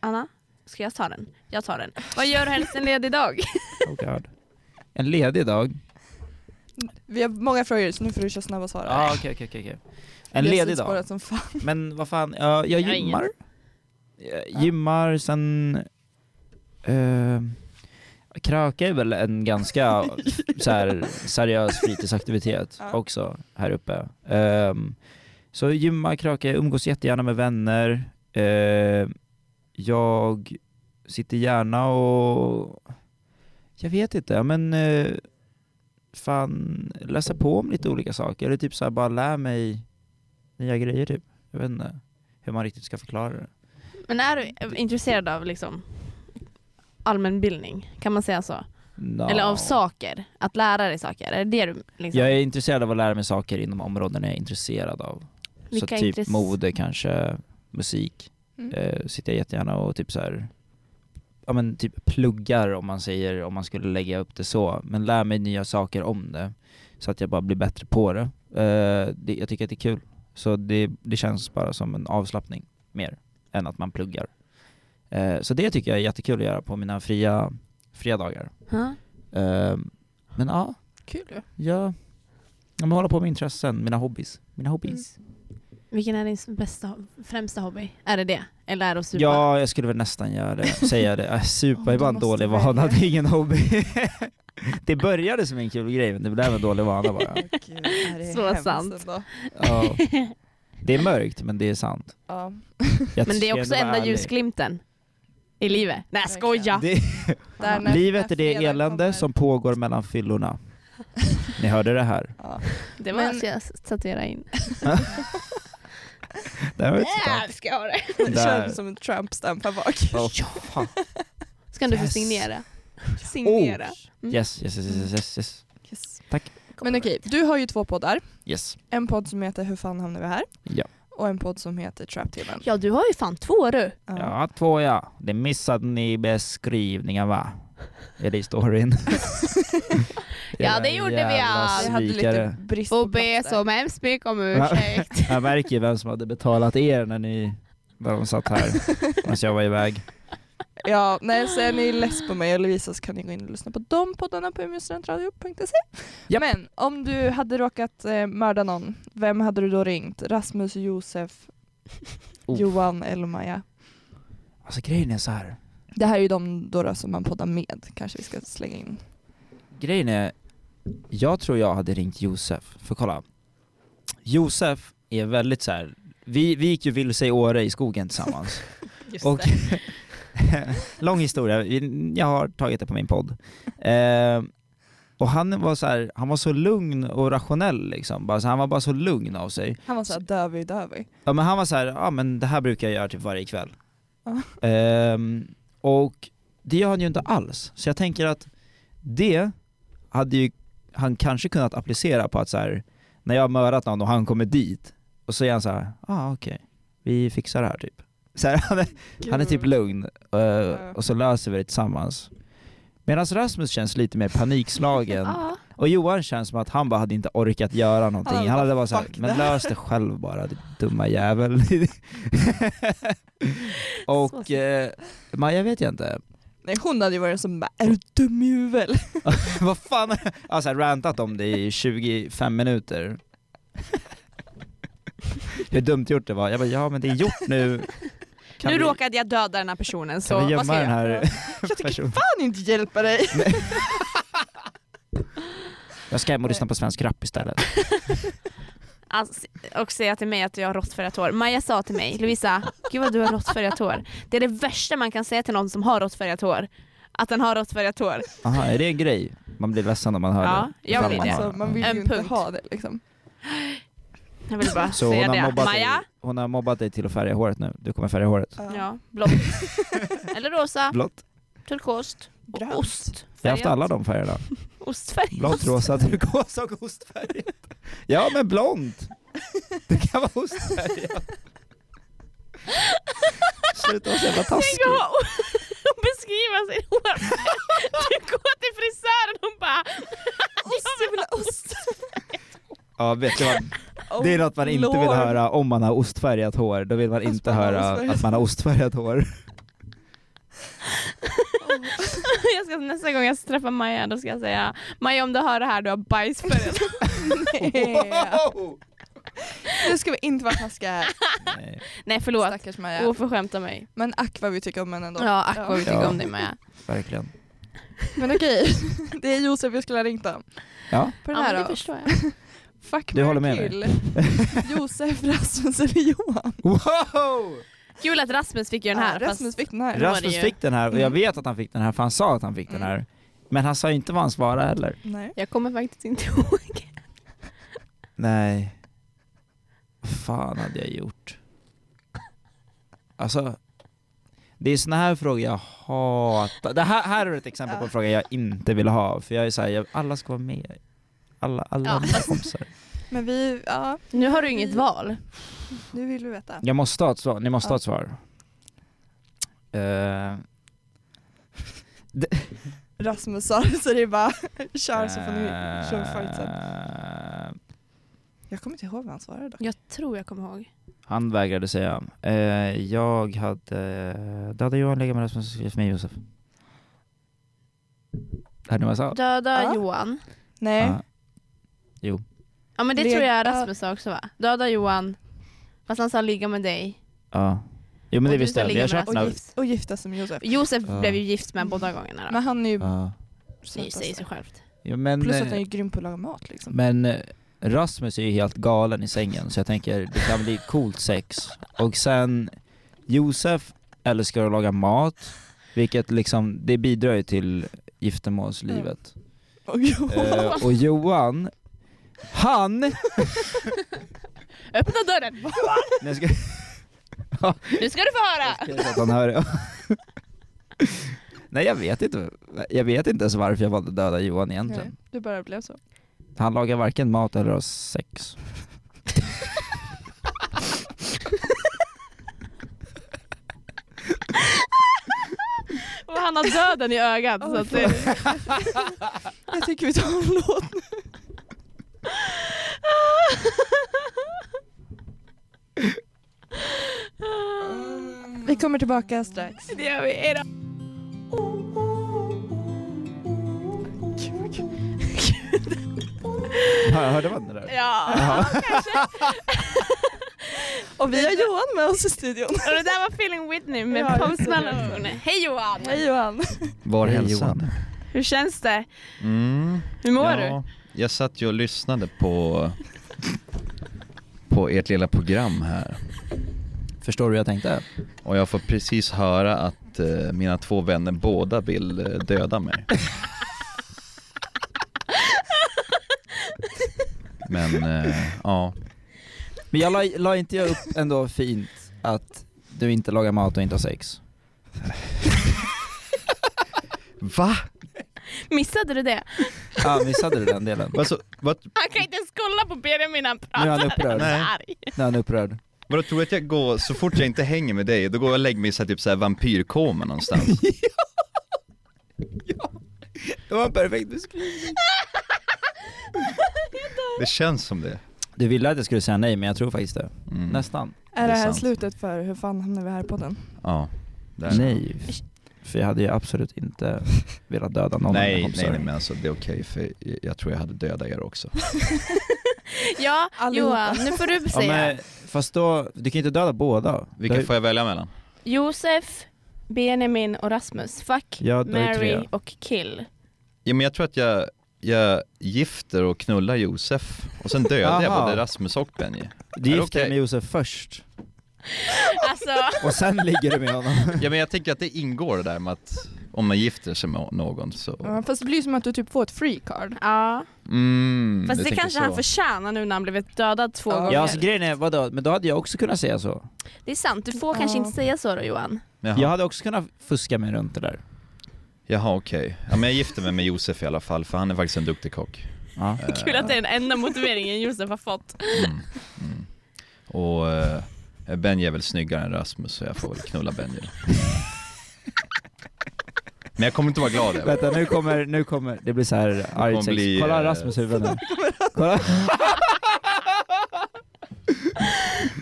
Speaker 1: Anna, ska jag ta den? Jag tar den. Vad gör du helst en ledig dag?
Speaker 3: Oh God. En ledig dag.
Speaker 2: Vi har många frågor så nu får du köra snabba svar.
Speaker 3: ah, okej, okej, okej. okej. En
Speaker 2: Vi har
Speaker 3: ledig dag.
Speaker 2: sidospårat Som fan.
Speaker 3: Men vad fan, ja, jag
Speaker 1: Jag har
Speaker 3: gymmar. Jag gymmar, sen... Eh, kröka är väl en ganska så här, seriös fritidsaktivitet
Speaker 2: Ja.
Speaker 3: också här uppe. Ehm, så gymma, kröka, jag umgås jättegärna med vänner. Ehm, jag sitter gärna och... Jag vet inte, men... eh, fan, läsa på om lite olika saker. Eller typ så här, bara lär mig nya grejer typ. Jag vet inte hur man riktigt ska förklara det.
Speaker 1: Men är du intresserad av liksom allmänbildning? Kan man säga så?
Speaker 3: Nå.
Speaker 1: Eller av saker? Att lära dig saker? Är det det du liksom?
Speaker 3: Jag är intresserad av att lära mig saker inom områden jag är intresserad av.
Speaker 1: Vilka
Speaker 3: så typ
Speaker 1: intress-
Speaker 3: mode kanske, musik.
Speaker 2: Mm.
Speaker 3: Eh, sitter jag jättegärna och typ så här, ja men typ pluggar om man säger, om man skulle lägga upp det så. Men lär mig nya saker om det. Så att jag bara blir bättre på det. Eh, det jag tycker att det är kul. Så det, det känns bara som en avslappning mer än att man pluggar. Eh, så det tycker jag är jättekul att göra på mina fria, fria dagar.
Speaker 1: Ja.
Speaker 3: Eh, men ja,
Speaker 2: Kul ju.
Speaker 3: Ja, jag håller på med intressen, mina hobbies. Mina hobbies.
Speaker 2: Mm.
Speaker 1: Vilken är din bästa, främsta hobby? Är det det? Eller är det att supa?
Speaker 3: Ja, jag skulle väl nästan göra det, säga det. Äh,
Speaker 2: Om
Speaker 3: Supa
Speaker 2: du
Speaker 3: är bara en
Speaker 2: måste
Speaker 3: dålig
Speaker 2: välja.
Speaker 3: vana, det är ingen hobby. det började som en kul grej, men det blev en dålig vana bara.
Speaker 2: Gud, det här är
Speaker 1: Så
Speaker 2: hemskt
Speaker 1: sant.
Speaker 2: ändå.
Speaker 3: Ja. Det är mörkt, men det är sant.
Speaker 2: Ja.
Speaker 3: Jag
Speaker 1: Men det
Speaker 3: ska
Speaker 1: är också
Speaker 3: ändå vara
Speaker 1: enda
Speaker 3: ärlig.
Speaker 1: ljusglimten i livet. Nej skoja!
Speaker 3: Det,
Speaker 2: Där när-
Speaker 3: livet är
Speaker 2: när
Speaker 3: det
Speaker 2: fredagen
Speaker 3: elände
Speaker 2: kommer.
Speaker 3: som pågår mellan fyllorna. Ni hörde det här.
Speaker 2: Ja.
Speaker 1: Det var
Speaker 2: Men-
Speaker 1: så jag s- tatuerade in.
Speaker 3: Det här
Speaker 1: Där
Speaker 3: var
Speaker 1: Äh, ska jag ha det!
Speaker 3: Där.
Speaker 2: Känns som en Trump-stamp här bak.
Speaker 3: Oh, fan.
Speaker 1: Ska du få
Speaker 3: Yes.
Speaker 1: signera?
Speaker 3: Oh.
Speaker 1: Signera. Mm.
Speaker 3: Yes, yes, yes, yes, yes, yes.
Speaker 2: Yes.
Speaker 3: Tack.
Speaker 2: Men okej, du har ju två poddar.
Speaker 3: Yes.
Speaker 2: En podd som heter Hur fan hamnade vi här?
Speaker 3: Ja.
Speaker 2: Och en podd som heter Trap-tvn.
Speaker 1: Ja du har ju fan två du.
Speaker 3: ja, två ja. Det missade ni i beskrivningen va? Eller i storyn.
Speaker 1: Ja, det gjorde vi, ja.
Speaker 3: Jävla
Speaker 2: Jag hade
Speaker 3: svikare.
Speaker 2: lite brist på
Speaker 1: Och be
Speaker 2: plats där.
Speaker 1: så hemskt mycket om ursäkt.
Speaker 3: Jag märker ju vem som hade betalat er när ni när de satt här medan jag var iväg.
Speaker 2: Ja, nej, så är ni less på mig och Lovisa så kan ni gå in och lyssna på de poddarna på umeåstudentradio.se.
Speaker 3: Japp.
Speaker 2: Men om du hade råkat eh, mörda någon, vem hade du då ringt? Rasmus, Josef,
Speaker 3: Oh.
Speaker 2: Johan eller Maja?
Speaker 3: Alltså grejen är så här.
Speaker 2: Det här är ju de då, då som man poddar med, kanske vi ska slänga in.
Speaker 3: Grejen är, jag tror jag hade ringt Josef, för kolla. Josef är väldigt så här. Vi, vi gick ju vilse i Åre i skogen tillsammans. och, lång historia, Vi- jag har tagit det på min podd. Eh, och han var, så här, han var så lugn och rationell liksom, bara, så, han var bara så lugn av sig.
Speaker 2: Han var såhär dövig dövig.
Speaker 3: Ja men han var så här, ja men det här brukar jag göra typ varje kväll.
Speaker 2: Ja.
Speaker 3: Ehm, och det gör han ju inte alls. Så jag tänker att det hade ju han kanske kunnat applicera på att så här, när jag har mördat någon och han kommer dit, och så är han så här, ja ah, okej, vi fixar det här typ. Så här, han, är, han är
Speaker 1: Mm.
Speaker 3: typ lugn, eh, och så löser vi det tillsammans. Medan Rasmus känns lite mer panikslagen,
Speaker 1: Ja.
Speaker 3: och Johan känns som att han bara hade inte orkat göra någonting.
Speaker 2: Han
Speaker 3: Han,
Speaker 2: hade
Speaker 3: hade
Speaker 2: bara,
Speaker 3: bara såhär,
Speaker 2: "Fuck det
Speaker 3: men
Speaker 2: här."
Speaker 3: lös det själv bara du dumma jävel. och
Speaker 1: Så
Speaker 3: eh, Maja vet jag inte.
Speaker 2: Nej, hon hade ju varit som bara, är du dum i huvudet? eller?"
Speaker 3: Vad fan, jag har så här rantat om det i 25 minuter. Hur dumt gjort det var. Jag bara, ja men det är gjort nu. Kan
Speaker 1: nu
Speaker 3: vi,
Speaker 1: råkade jag döda den här personen så
Speaker 3: kan vi
Speaker 1: vad ska
Speaker 3: gömma
Speaker 1: jag
Speaker 3: den
Speaker 1: göra?
Speaker 3: här
Speaker 2: Jag tänker
Speaker 3: personen?
Speaker 2: fan inte hjälpa dig.
Speaker 3: Jag ska hem och lyssna på svensk rap istället.
Speaker 1: Alltså, och säga till mig att jag har råttfärgat hår. Maja sa till mig, Lovisa, gud vad du har råttfärgat hår. Det är det värsta man kan säga till någon som har råttfärgat hår. Att den har råttfärgat hår.
Speaker 3: Aha, är det en grej? Man blir ledsen om man hör
Speaker 1: Ja,
Speaker 3: det.
Speaker 1: jag
Speaker 3: Ifall
Speaker 1: blir
Speaker 3: man
Speaker 1: det.
Speaker 3: har
Speaker 2: Alltså, man vill
Speaker 1: En
Speaker 2: ju inte
Speaker 1: punkt.
Speaker 2: ha det liksom.
Speaker 1: Jag vill bara
Speaker 3: Mm. Så
Speaker 1: säga
Speaker 3: hon har,
Speaker 1: det.
Speaker 3: mobbat dig,
Speaker 1: Maja,
Speaker 3: hon har mobbat dig till att färga håret nu. Du kommer färga håret.
Speaker 1: ja, blått. Eller rosa,
Speaker 3: Blått.
Speaker 1: turkost och
Speaker 2: Grönt.
Speaker 1: ost.
Speaker 3: Jag har haft alla de färgerna.
Speaker 1: Ostfärg.
Speaker 3: Blått, rosa, turkos och ostfärgat. Ja men blont! Det kan vara ostfärgat. Sluta vara så jävla taskig.
Speaker 1: Tänk att ha- att beskriva sin hårfärg. Du går till frisören och bara
Speaker 2: Ost, jag vill ha ost.
Speaker 3: Ja vet du vad, det är något man inte vill
Speaker 2: Lord.
Speaker 3: höra om man har ostfärgat hår. Då vill man
Speaker 2: Fast
Speaker 3: inte
Speaker 2: man har
Speaker 3: höra
Speaker 2: ostfärgat
Speaker 3: att man har ostfärgat hår.
Speaker 1: jag ska, nästa gång jag träffar Maja då ska jag säga Maja om du hör det här du har bajsfärg.
Speaker 2: Nej. Nu ska vi inte vara taskiga här.
Speaker 3: Nej.
Speaker 1: Nej förlåt,
Speaker 2: Stackars Maja.
Speaker 1: oförskämt av mig.
Speaker 2: Men ack vad vi tycker om henne ändå.
Speaker 1: Ja ack vad vi tycker
Speaker 3: Ja.
Speaker 1: om dig Maja.
Speaker 3: Verkligen.
Speaker 2: Men okej, det är Josef vi skulle ha ringt om.
Speaker 3: Ja.
Speaker 2: På
Speaker 1: Ja,
Speaker 2: den här
Speaker 1: men det
Speaker 2: då.
Speaker 1: förstår jag.
Speaker 2: Fuck,
Speaker 3: Du
Speaker 2: marry,
Speaker 3: håller med mig.
Speaker 2: kill. Josef, Rasmus eller Johan?
Speaker 3: Wow!
Speaker 1: Kul att Rasmus fick ju den här.
Speaker 2: Ja, Rasmus
Speaker 1: fast,
Speaker 2: fick den här.
Speaker 1: Ra- var det
Speaker 3: Rasmus
Speaker 1: ju.
Speaker 3: fick den här och
Speaker 2: Mm.
Speaker 3: jag vet att han fick den här för han sa att han fick den här. Men han sa ju inte vad han svarade heller.
Speaker 2: Nej.
Speaker 1: jag kommer faktiskt inte ihåg.
Speaker 3: Nej. Vad fan hade jag gjort? Alltså, det är såna här frågor jag hatar. Det här, här är ett exempel på en
Speaker 2: Ja.
Speaker 3: fråga jag inte vill ha. För jag är såhär, alla ska vara med. Alla, alla
Speaker 1: Ja.
Speaker 3: mina kompisar.
Speaker 2: Men vi, ja,
Speaker 1: Nu har du inget val.
Speaker 2: nu vill vi veta.
Speaker 3: Jag måste ha ett svar, ni måste
Speaker 2: Ja.
Speaker 3: ha ett svar. Eh,
Speaker 2: Rasmus sa det så det är bara kör så får ni köra fight sen.
Speaker 3: eh,
Speaker 2: Jag kommer inte ihåg vad han svarade dock.
Speaker 1: Jag tror jag kommer ihåg.
Speaker 3: Han vägrade säga. Eh, jag hade... Då hade Johan legat med Rasmus och skrivit med Josef. Hörde ni vad jag sa?
Speaker 1: Döda
Speaker 2: Ja.
Speaker 1: Johan.
Speaker 2: Nej,
Speaker 3: Ja.
Speaker 1: Ja men det
Speaker 2: Leg-
Speaker 1: tror jag
Speaker 2: ja.
Speaker 1: Rasmus sa också va? Döda Johan. Fast han sa ligga med dig.
Speaker 3: ja. Jo men
Speaker 1: Och
Speaker 3: det
Speaker 1: du
Speaker 3: visste
Speaker 1: ska
Speaker 3: jag. Vi
Speaker 1: ligga
Speaker 3: har
Speaker 1: med
Speaker 3: kört den
Speaker 2: och,
Speaker 3: här...
Speaker 1: Rasmus.
Speaker 2: gift, och gifta sig med Josef.
Speaker 1: Alltså, Josef
Speaker 3: Ja.
Speaker 1: blev ju gift med båda gångerna då.
Speaker 2: Men han är ju
Speaker 3: Ja.
Speaker 1: Det säger sig självt.
Speaker 3: Jo, men,
Speaker 2: Plus att han
Speaker 3: eh,
Speaker 2: är grym på att laga mat liksom.
Speaker 3: men eh, Rasmus är ju helt galen i sängen så jag tänker det kan bli coolt sex. Och sen Josef älskar att laga mat, vilket liksom, det bidrar ju till giftermålslivet.
Speaker 2: Mm. Och Johan.
Speaker 3: Eh, och Johan, han
Speaker 1: Öppna dörren!
Speaker 3: Nej, jag ska-
Speaker 1: Nu ska du få höra!
Speaker 3: Jag vet att han hör det. Nej jag vet inte, jag vet inte ens varför jag valde att döda Johan egentligen.
Speaker 2: Nej, du bara blev så.
Speaker 3: Han lagar varken mat eller har sex.
Speaker 1: Och han har döden i ögat. så att det...
Speaker 2: Jag tycker vi tar en låt nu. Vi kommer tillbaka strax.
Speaker 1: det gör vi. Hejdå.
Speaker 3: Hör, hörde man det där?
Speaker 1: Ja, kanske.
Speaker 2: Och vi har Johan med oss i studion.
Speaker 1: Och det där var Feeling Whitney med
Speaker 2: Ja,
Speaker 1: Post
Speaker 2: just det.
Speaker 1: Malone. Hej Johan!
Speaker 2: Hej Johan.
Speaker 4: Var
Speaker 3: Hej,
Speaker 4: hälsan?
Speaker 1: Hur känns det?
Speaker 4: Mm.
Speaker 1: Hur mår du?
Speaker 4: ja, Jag satt ju och lyssnade på, på ert lilla program här
Speaker 3: Förstår du hur jag tänkte?
Speaker 4: och jag får precis höra att eh, mina två vänner båda vill eh, döda mig. Men eh, ja,
Speaker 3: Men jag la, la inte jag upp ändå fint att du inte lagar mat och inte har sex?
Speaker 4: va?
Speaker 1: Missade du det?
Speaker 3: Ja, missade du den delen?
Speaker 4: Alltså, vad,
Speaker 1: Han kan inte ens kolla på Benjamin han pratar.
Speaker 3: Nu är han upprörd.
Speaker 1: är
Speaker 4: Nej.
Speaker 1: arg.
Speaker 3: När han är upprörd.
Speaker 4: vad tror du att jag går, så fort jag inte hänger med dig, då går jag och lägger mig i så här, typ såhär vampyrkoma någonstans?
Speaker 3: Det var en perfekt beskrivning.
Speaker 4: Det känns som det.
Speaker 3: Du ville att jag skulle säga nej, men jag tror faktiskt det.
Speaker 4: Mm.
Speaker 3: Nästan.
Speaker 2: Är
Speaker 4: Det
Speaker 2: det
Speaker 4: är
Speaker 2: här
Speaker 4: sant.
Speaker 2: slutet för Hur fan hamnar vi här på den?
Speaker 4: Ja. Där.
Speaker 3: Nej, för jag hade ju absolut inte velat döda någon.
Speaker 4: Nej,
Speaker 3: I'm
Speaker 4: nej,
Speaker 3: sorry.
Speaker 4: nej men alltså det är okej för jag- jag tror jag hade dödat er också.
Speaker 1: Ja,
Speaker 2: Allihopa.
Speaker 1: Johan, nu får du
Speaker 3: Ja,
Speaker 1: säga.
Speaker 3: men, fast då, du kan ju inte döda båda.
Speaker 4: Vilka
Speaker 3: Du-
Speaker 4: får jag välja mellan?
Speaker 1: Josef, Benjamin och Rasmus. Fuck,
Speaker 3: Ja, det är
Speaker 1: Mary
Speaker 3: tre.
Speaker 1: och kill.
Speaker 4: Ja, men jag tror att jag, jag gifter och knullar Josef och sen dödar jag
Speaker 3: Aha.
Speaker 4: både Rasmus och Benji.
Speaker 3: Du
Speaker 4: Är det
Speaker 3: gifter dig
Speaker 4: okej?
Speaker 3: med Josef först,
Speaker 1: Alltså,
Speaker 3: och sen ligger du med honom.
Speaker 4: Ja men jag tänker att det ingår det där med att om man gifter sig med någon så...
Speaker 2: Ja, fast det blir som att du typ får ett free card.
Speaker 1: ja.
Speaker 4: Mm,
Speaker 1: Fast
Speaker 4: du
Speaker 1: det
Speaker 4: tänker
Speaker 1: kanske
Speaker 4: så.
Speaker 1: han förtjänar nu när han blivit dödad två
Speaker 2: Ja.
Speaker 1: gånger.
Speaker 3: Ja alltså grejen är, vadå, men då hade jag också kunnat säga så.
Speaker 1: Det är sant, du får kanske
Speaker 2: Ja.
Speaker 1: inte säga så då Johan.
Speaker 4: Jaha,
Speaker 3: Jag
Speaker 4: ja.
Speaker 3: hade också kunnat fuska mig runt det där.
Speaker 4: Jaha okej. Ja men jag gifter mig med Josef i alla fall för han är faktiskt en duktig kock.
Speaker 3: Ja.
Speaker 4: Eh,
Speaker 1: Kul att det är den enda motiveringen Josef har fått.
Speaker 4: mm, mm. Och eh, Benji är väl snyggare än Rasmus så jag får väl knulla Benji. Men jag kommer inte vara glad över det.
Speaker 3: Vänta nu kommer, nu kommer, det blir såhär argt sex.
Speaker 4: bli,
Speaker 3: Kolla
Speaker 4: eh,
Speaker 3: Rasmus huvud nu. Kolla.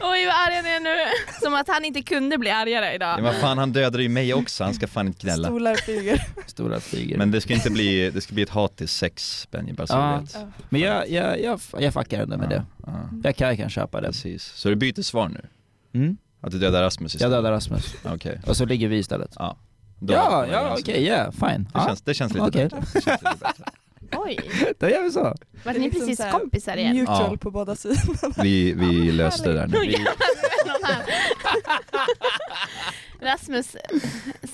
Speaker 1: Oj vad arg han är nu. Som att han inte kunde bli argare
Speaker 4: Ja,
Speaker 1: idag.
Speaker 4: men fan han dödade ju mig också, han ska fan inte gnälla.
Speaker 2: Stolar flyger.
Speaker 3: Stora flyger.
Speaker 4: Men
Speaker 3: Men,
Speaker 4: det ska inte bli, det ska bli ett hat till sex Benji, bara så
Speaker 3: Ja.
Speaker 4: du vet.
Speaker 2: Ja.
Speaker 3: jag, jag, jag, jag fuckar ändå med det.
Speaker 4: Ja,
Speaker 3: Jag kan, jag kan köpa
Speaker 4: ja,
Speaker 3: det.
Speaker 4: precis. Så du byter svar nu?
Speaker 3: Mm?
Speaker 4: Att du dödar Rasmus
Speaker 3: Jag
Speaker 4: istället?
Speaker 3: dödar Rasmus,
Speaker 4: Ja, Okej.
Speaker 3: och så ligger vi istället.
Speaker 4: Ja. Då-
Speaker 3: Ja,
Speaker 4: då-
Speaker 3: ja okej, yeah, fine.
Speaker 4: Det,
Speaker 3: Ja,
Speaker 4: känns, det känns lite
Speaker 3: Okej.
Speaker 4: bättre. Det känns lite bättre.
Speaker 1: Oj,
Speaker 3: Då gör vi så.
Speaker 1: vart
Speaker 2: Det är
Speaker 1: ni
Speaker 2: liksom
Speaker 1: precis
Speaker 2: så här
Speaker 1: kompisar igen?
Speaker 2: Neutral
Speaker 4: Ja.
Speaker 2: på båda sidor.
Speaker 4: Vi, vi löste det där nu. Vi,
Speaker 1: Någon här. Rasmus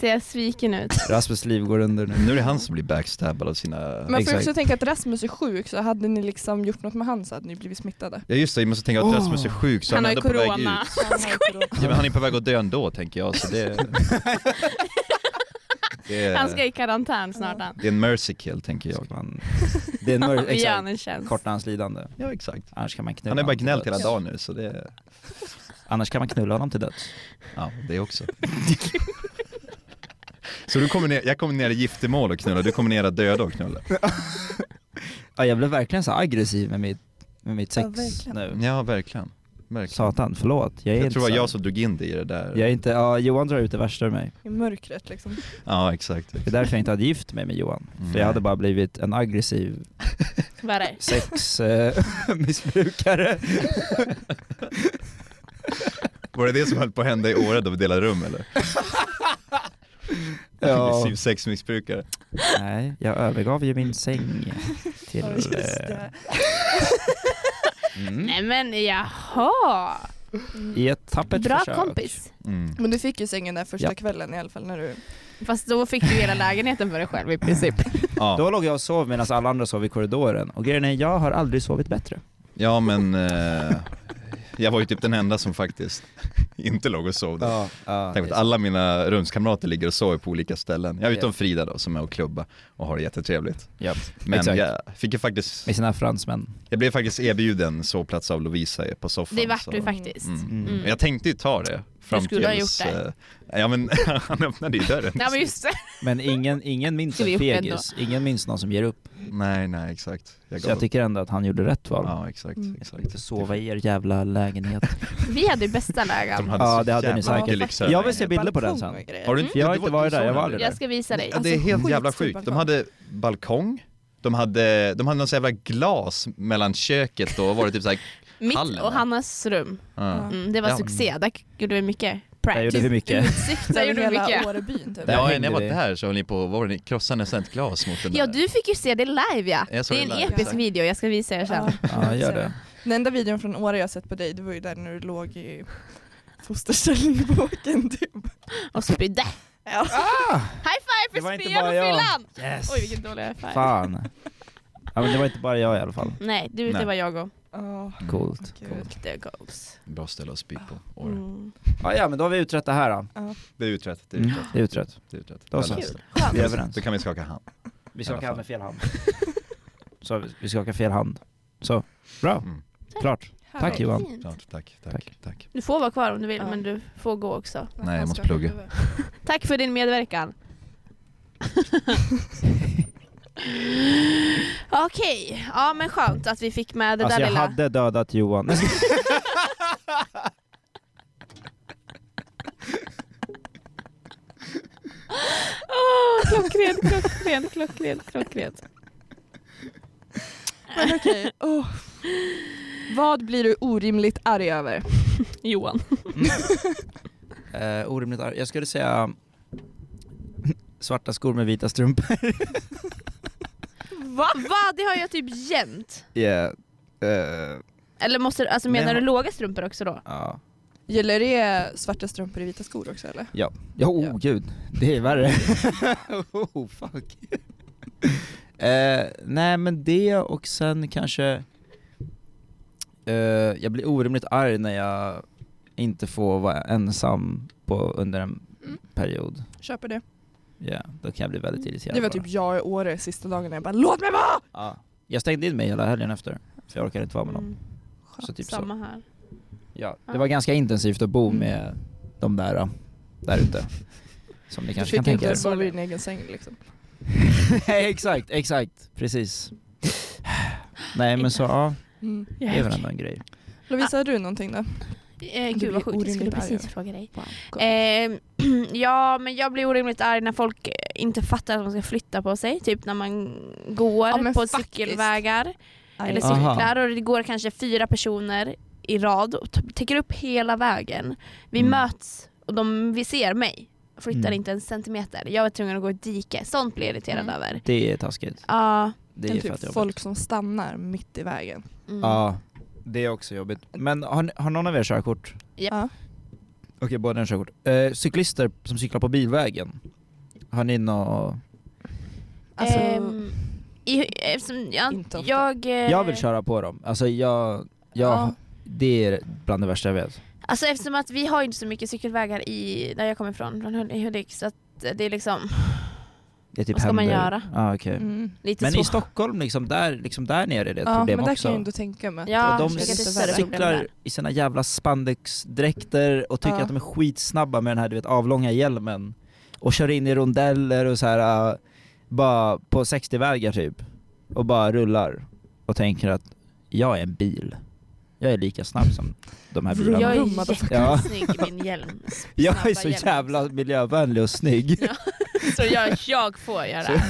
Speaker 1: ser sviken ut.
Speaker 3: Rasmus liv går under nu.
Speaker 4: nu är det han som blir backstabbad av sina...
Speaker 2: Man får ju
Speaker 3: Exakt.
Speaker 2: också tänka att Rasmus är sjuk så hade ni liksom gjort något med han så hade ni blivit smittade.
Speaker 4: Ja just det, jag måste tänka att
Speaker 3: Åh.
Speaker 4: Rasmus är sjuk så
Speaker 1: Han
Speaker 4: han,
Speaker 1: har
Speaker 4: är
Speaker 1: ju
Speaker 4: ändå på väg ut.
Speaker 1: corona.
Speaker 4: Ja, men han är på väg att dö ändå tänker jag så det... det är,
Speaker 1: Han ska i karantän snart han.
Speaker 4: det är en mercy kill tänker jag.
Speaker 3: Man, det är en mörk,
Speaker 1: Vi gör han en
Speaker 3: exakt,
Speaker 1: tjänst.
Speaker 3: korta hans lidande.
Speaker 4: Ja exakt.
Speaker 3: Annars kan man knulla
Speaker 4: Han är bara
Speaker 3: honom till
Speaker 4: gnällt hela
Speaker 3: döds.
Speaker 4: dagen nu så det...
Speaker 3: Annars kan man knulla honom till döds.
Speaker 4: Ja, det också. Så du kommer ner, jag kommer ner i giftermål och knulla, du kommer ner att döda och knulla.
Speaker 3: Ja, jag blev verkligen så aggressiv med mitt, med mitt
Speaker 2: Ja,
Speaker 3: sex
Speaker 2: verkligen.
Speaker 3: nu.
Speaker 4: Ja, verkligen. verkligen.
Speaker 3: Satan, förlåt. Jag är
Speaker 4: Jag
Speaker 3: inte så
Speaker 4: tror det var
Speaker 3: här-
Speaker 4: jag som drog in dig i det där.
Speaker 3: jag är inte, ja, Johan drar ut det värsta ur mig.
Speaker 2: I mörkret liksom.
Speaker 4: Ja, exakt.
Speaker 3: Det är därför jag inte hade gift mig med Johan.
Speaker 4: Mm.
Speaker 3: För jag hade bara blivit en aggressiv eh,
Speaker 1: Vad är det?
Speaker 3: sexmissbrukare.
Speaker 4: Var det det som höll på att hända i Åre då vi delade rum eller? Aggressiv sexmissbrukare.
Speaker 3: Nej, jag övergav ju min säng till...
Speaker 2: Ja, just
Speaker 3: eh,
Speaker 2: det.
Speaker 3: mm,
Speaker 1: Nej men jaha.
Speaker 3: I ett tappert
Speaker 1: Bra
Speaker 3: försök.
Speaker 1: kompis.
Speaker 4: Mm.
Speaker 2: Men du fick ju sängen där första
Speaker 3: Ja.
Speaker 2: kvällen i alla fall när du...
Speaker 1: Fast då fick du hela lägenheten för dig själv i princip.
Speaker 4: Ja.
Speaker 3: Då låg jag och sov medan alla andra sov i korridoren. Och grejen är, jag har aldrig sovit bättre.
Speaker 4: ja, men eh, Jag var ju typ den enda som faktiskt inte låg och sov. där.
Speaker 3: Ja, ja,
Speaker 4: Tänk på
Speaker 3: det
Speaker 4: att
Speaker 3: är-
Speaker 4: alla mina rumskamrater ligger och sover på olika ställen. Ja, utom
Speaker 3: Ja.
Speaker 4: Frida då som är och klubba och har det jättetrevligt.
Speaker 3: Japp,
Speaker 4: Men
Speaker 3: exakt.
Speaker 4: jag fick ju faktiskt,
Speaker 3: Med sina fransmän.
Speaker 4: jag blev faktiskt erbjuden sovplats av Lovisa på soffan.
Speaker 1: Det vart
Speaker 4: så-
Speaker 1: du faktiskt.
Speaker 4: Mm.
Speaker 3: Mm.
Speaker 1: Mm.
Speaker 4: Jag tänkte ju ta det fram
Speaker 1: Du skulle ha
Speaker 4: tills,
Speaker 1: gjort det.
Speaker 4: eh, Ja men han öppnade ju dörren.
Speaker 1: Nej men just det.
Speaker 3: Men ingen, ingen minns
Speaker 1: Skulle
Speaker 3: en
Speaker 1: gjort ändå.
Speaker 3: fegis, ingen minns någon som ger upp.
Speaker 4: Nej nej exakt. Jag
Speaker 3: Så
Speaker 4: gav
Speaker 3: jag tycker ändå att han gjorde rätt val.
Speaker 4: Ja exakt,
Speaker 2: Mm.
Speaker 4: exakt.
Speaker 3: Sova i er jävla lägenhet.
Speaker 1: Vi hade ju bästa
Speaker 4: De
Speaker 1: lägen.
Speaker 4: hade
Speaker 3: Ja,
Speaker 4: så
Speaker 3: det hade ni
Speaker 4: jävla
Speaker 3: säkert.
Speaker 4: mycket lyxigare
Speaker 3: Jag vill se
Speaker 4: lägenheter.
Speaker 3: bilder på den sen.
Speaker 2: Balkong och grejer.
Speaker 4: Har du inte,
Speaker 3: Jag har
Speaker 4: du
Speaker 3: inte
Speaker 4: var-
Speaker 3: varit
Speaker 4: du
Speaker 3: där, jag
Speaker 4: såg
Speaker 3: var
Speaker 4: den,
Speaker 3: aldrig
Speaker 4: eller?
Speaker 1: Jag ska visa dig.
Speaker 4: Ja, det är
Speaker 2: Alltså,
Speaker 4: helt jävla
Speaker 2: skitstor
Speaker 4: sjukt. De
Speaker 2: balkong.
Speaker 4: hade balkong, de hade, de hade någon sån jävla glas mellan köket och var det typ "Ah." såhär,
Speaker 1: Mitt
Speaker 4: Hallen,
Speaker 1: och
Speaker 4: va?
Speaker 1: Hannas rum.
Speaker 4: ja.
Speaker 1: Mm, det var
Speaker 4: Ja.
Speaker 1: succé, där gjorde vi mycket
Speaker 3: Där gjorde
Speaker 1: pranks.
Speaker 3: vi mycket.
Speaker 1: Utsikt, där
Speaker 2: Över
Speaker 1: gjorde vi
Speaker 2: hela
Speaker 1: mycket.
Speaker 2: Årebyn typ.
Speaker 3: Där
Speaker 4: ja,
Speaker 3: hängde
Speaker 4: när jag var
Speaker 3: vi.
Speaker 4: där så höll ni på, vad var det, ni krossade nästan ett glas mot den
Speaker 1: Ja
Speaker 4: där.
Speaker 1: du fick ju se det live ja.
Speaker 4: Jag såg
Speaker 1: Det är en
Speaker 4: det live,
Speaker 1: episk
Speaker 4: exakt.
Speaker 1: video, jag ska visa er sen.
Speaker 3: Ja, gör det.
Speaker 2: Den enda videon från Åre jag sett på dig, det var ju där när du låg i fosterställning på åken typ.
Speaker 1: Och spydde. High
Speaker 3: Det
Speaker 1: five
Speaker 3: var
Speaker 1: för
Speaker 3: inte
Speaker 1: spyan
Speaker 3: bara
Speaker 1: på
Speaker 3: jag.
Speaker 1: fyllan!
Speaker 3: Yes!
Speaker 1: Ah! Oj vilken dålig high five.
Speaker 3: Fan. Ja, men det var inte bara jag i alla fall.
Speaker 1: Nej, du, det
Speaker 4: Nej.
Speaker 1: var jag och
Speaker 2: Ja,
Speaker 4: Mm.
Speaker 3: Coolt.
Speaker 2: gud.
Speaker 1: the goes.
Speaker 4: Bra ställe att spy på. Åre.
Speaker 1: Mm.
Speaker 3: Ja, ja, men då har vi utrett det här då.
Speaker 4: Det är uträtt, det är
Speaker 3: Mm.
Speaker 4: uträtt.
Speaker 3: Det är utrett.
Speaker 4: Det är uträtt.
Speaker 3: Då
Speaker 4: Jag
Speaker 3: så.
Speaker 4: löser det.
Speaker 3: Vi är överens.
Speaker 4: Då kan vi skaka hand.
Speaker 3: Vi
Speaker 4: I
Speaker 3: skakar
Speaker 4: alla fall.
Speaker 3: hand med fel hand. Så, vi- vi skakar fel hand. Så, bra.
Speaker 4: Mm.
Speaker 3: Klart. Tack, Johan.
Speaker 1: Fint.
Speaker 4: Klart. Tack, tack,
Speaker 3: Tack.
Speaker 4: tack.
Speaker 1: Du får vara kvar om du vill
Speaker 2: Ja.
Speaker 1: men du får gå också.
Speaker 4: Nej, jag måste plugga.
Speaker 1: Tack för din medverkan. Okej, ja men skönt att vi fick med det
Speaker 3: Alltså
Speaker 1: där
Speaker 3: jag
Speaker 1: lilla.
Speaker 3: hade dödat Johan.
Speaker 1: Åh, klockrent, klockrent, klockrent, klockrent.
Speaker 2: Men okej, åh. Vad blir du orimligt arg över?
Speaker 1: Johan.
Speaker 3: Eh, orimligt arg. Jag skulle säga svarta skor med vita strumpor.
Speaker 1: Va? Va? Det har jag typ jämt.
Speaker 3: Yeah. Eh,
Speaker 1: Eller måste, du- alltså menar
Speaker 3: Nej,
Speaker 1: du låga strumpor också då?
Speaker 3: ja.
Speaker 2: Gäller det svarta strumpor i vita skor också eller?
Speaker 3: Ja. Ja, oh gud. Det är värre. oh fuck. Eh, nej men det och sen kanske... eh, jag blir orimligt arg när jag inte får vara ensam på, under en
Speaker 2: Mm.
Speaker 3: period.
Speaker 2: Köper det.
Speaker 3: Ja, då kan jag bli väldigt irriterad.
Speaker 2: Det var
Speaker 3: bara.
Speaker 2: typ jag i Åre sista dagen jag bara LÅT MIG VARA!
Speaker 3: Ja. Jag stängde in mig hela helgen efter, för jag orkade inte vara med någon.
Speaker 1: Mm,
Speaker 3: Så typ så.
Speaker 1: samma här.
Speaker 3: Ja,
Speaker 1: Ja.
Speaker 3: det var ganska intensivt att
Speaker 2: Mm.
Speaker 3: bo med de där, äh, där ute. Som ni
Speaker 2: Du
Speaker 3: kanske
Speaker 2: fick ju
Speaker 3: kan tänka
Speaker 2: inte
Speaker 3: er.
Speaker 2: ens sova i din egen säng liksom.
Speaker 3: Nej, exakt, exakt, precis. Nej men så, ja,
Speaker 2: Mm.
Speaker 3: det är väl ändå en grej.
Speaker 2: Lovisa, har du någonting då?
Speaker 1: Eh,
Speaker 2: Du
Speaker 1: gud
Speaker 2: blir
Speaker 1: vad sjukt, jag skulle
Speaker 2: orimligt arg,
Speaker 1: precis
Speaker 2: ja.
Speaker 1: fråga dig. Eh, ja men jag blir orimligt arg när folk eh, inte fattar att man ska flytta på sig. Typ när man går
Speaker 2: Ja, men
Speaker 1: på
Speaker 2: faktiskt.
Speaker 1: cykelvägar eller
Speaker 3: Aha.
Speaker 1: cyklar och det går kanske fyra personer i rad och t- täcker upp hela vägen. Vi
Speaker 3: Mm.
Speaker 1: möts och de vi ser mig. Flyttar
Speaker 3: Mm.
Speaker 1: inte en centimeter. Jag var tvungen att gå i ett dike. Sånt blir jag irriterad
Speaker 2: Mm.
Speaker 1: över.
Speaker 3: Det är taskigt.
Speaker 1: Ja.
Speaker 3: Det
Speaker 2: Men
Speaker 3: är fett
Speaker 2: typ
Speaker 3: jobbigt.
Speaker 2: folk som stannar mitt i vägen.
Speaker 1: mm.
Speaker 3: Ja, det är också jobbigt. Men har, ni- har någon av er körkort?
Speaker 1: Japp.
Speaker 2: Ja.
Speaker 3: Okej, båda har körkort. Eh, cyklister som cyklar på bilvägen, har ni nå?
Speaker 2: Alltså,
Speaker 1: Ehm, i, eftersom jag,
Speaker 2: Inte ofta.
Speaker 1: jag, eh,
Speaker 3: Jag vill köra på dem. Alltså jag, jag
Speaker 2: Ja.
Speaker 3: det är bland det värsta jag vet.
Speaker 1: Alltså eftersom att vi har inte så mycket cykelvägar i, där jag kommer ifrån, från Hud- i Hudik, så att det är liksom
Speaker 3: Det är typ
Speaker 1: Vad ska man
Speaker 3: händer.
Speaker 1: göra?
Speaker 3: Ah, okej.
Speaker 2: mm.
Speaker 1: lite
Speaker 3: Men
Speaker 1: så.
Speaker 3: i Stockholm, liksom, där, liksom där nere är det ett
Speaker 2: ja,
Speaker 3: problem
Speaker 2: men där
Speaker 3: också.
Speaker 2: kan jag ändå tänka mig att
Speaker 1: Ja,
Speaker 3: och de
Speaker 1: jag
Speaker 2: kanske
Speaker 1: tycker att det är
Speaker 2: lite
Speaker 1: större
Speaker 2: värre.
Speaker 1: problem där.
Speaker 3: cyklar i sina jävla spandexdräkter och tycker
Speaker 2: Ja.
Speaker 3: att de är skitsnabba med den här du vet, avlånga hjälmen. Och kör in i rondeller och så här äh, bara på 60-vägar typ. Och bara rullar. Och tänker att jag är en bil. Jag är lika snabb som de här bilarna.
Speaker 1: Jag
Speaker 2: Ja,
Speaker 1: är
Speaker 2: men-
Speaker 1: jättesnygg i min hjälm.
Speaker 3: Jag är
Speaker 1: Snabba
Speaker 3: så
Speaker 1: hjälm.
Speaker 3: jävla miljövänlig och snygg.
Speaker 1: Så jag, jag får
Speaker 3: Så,
Speaker 1: göra.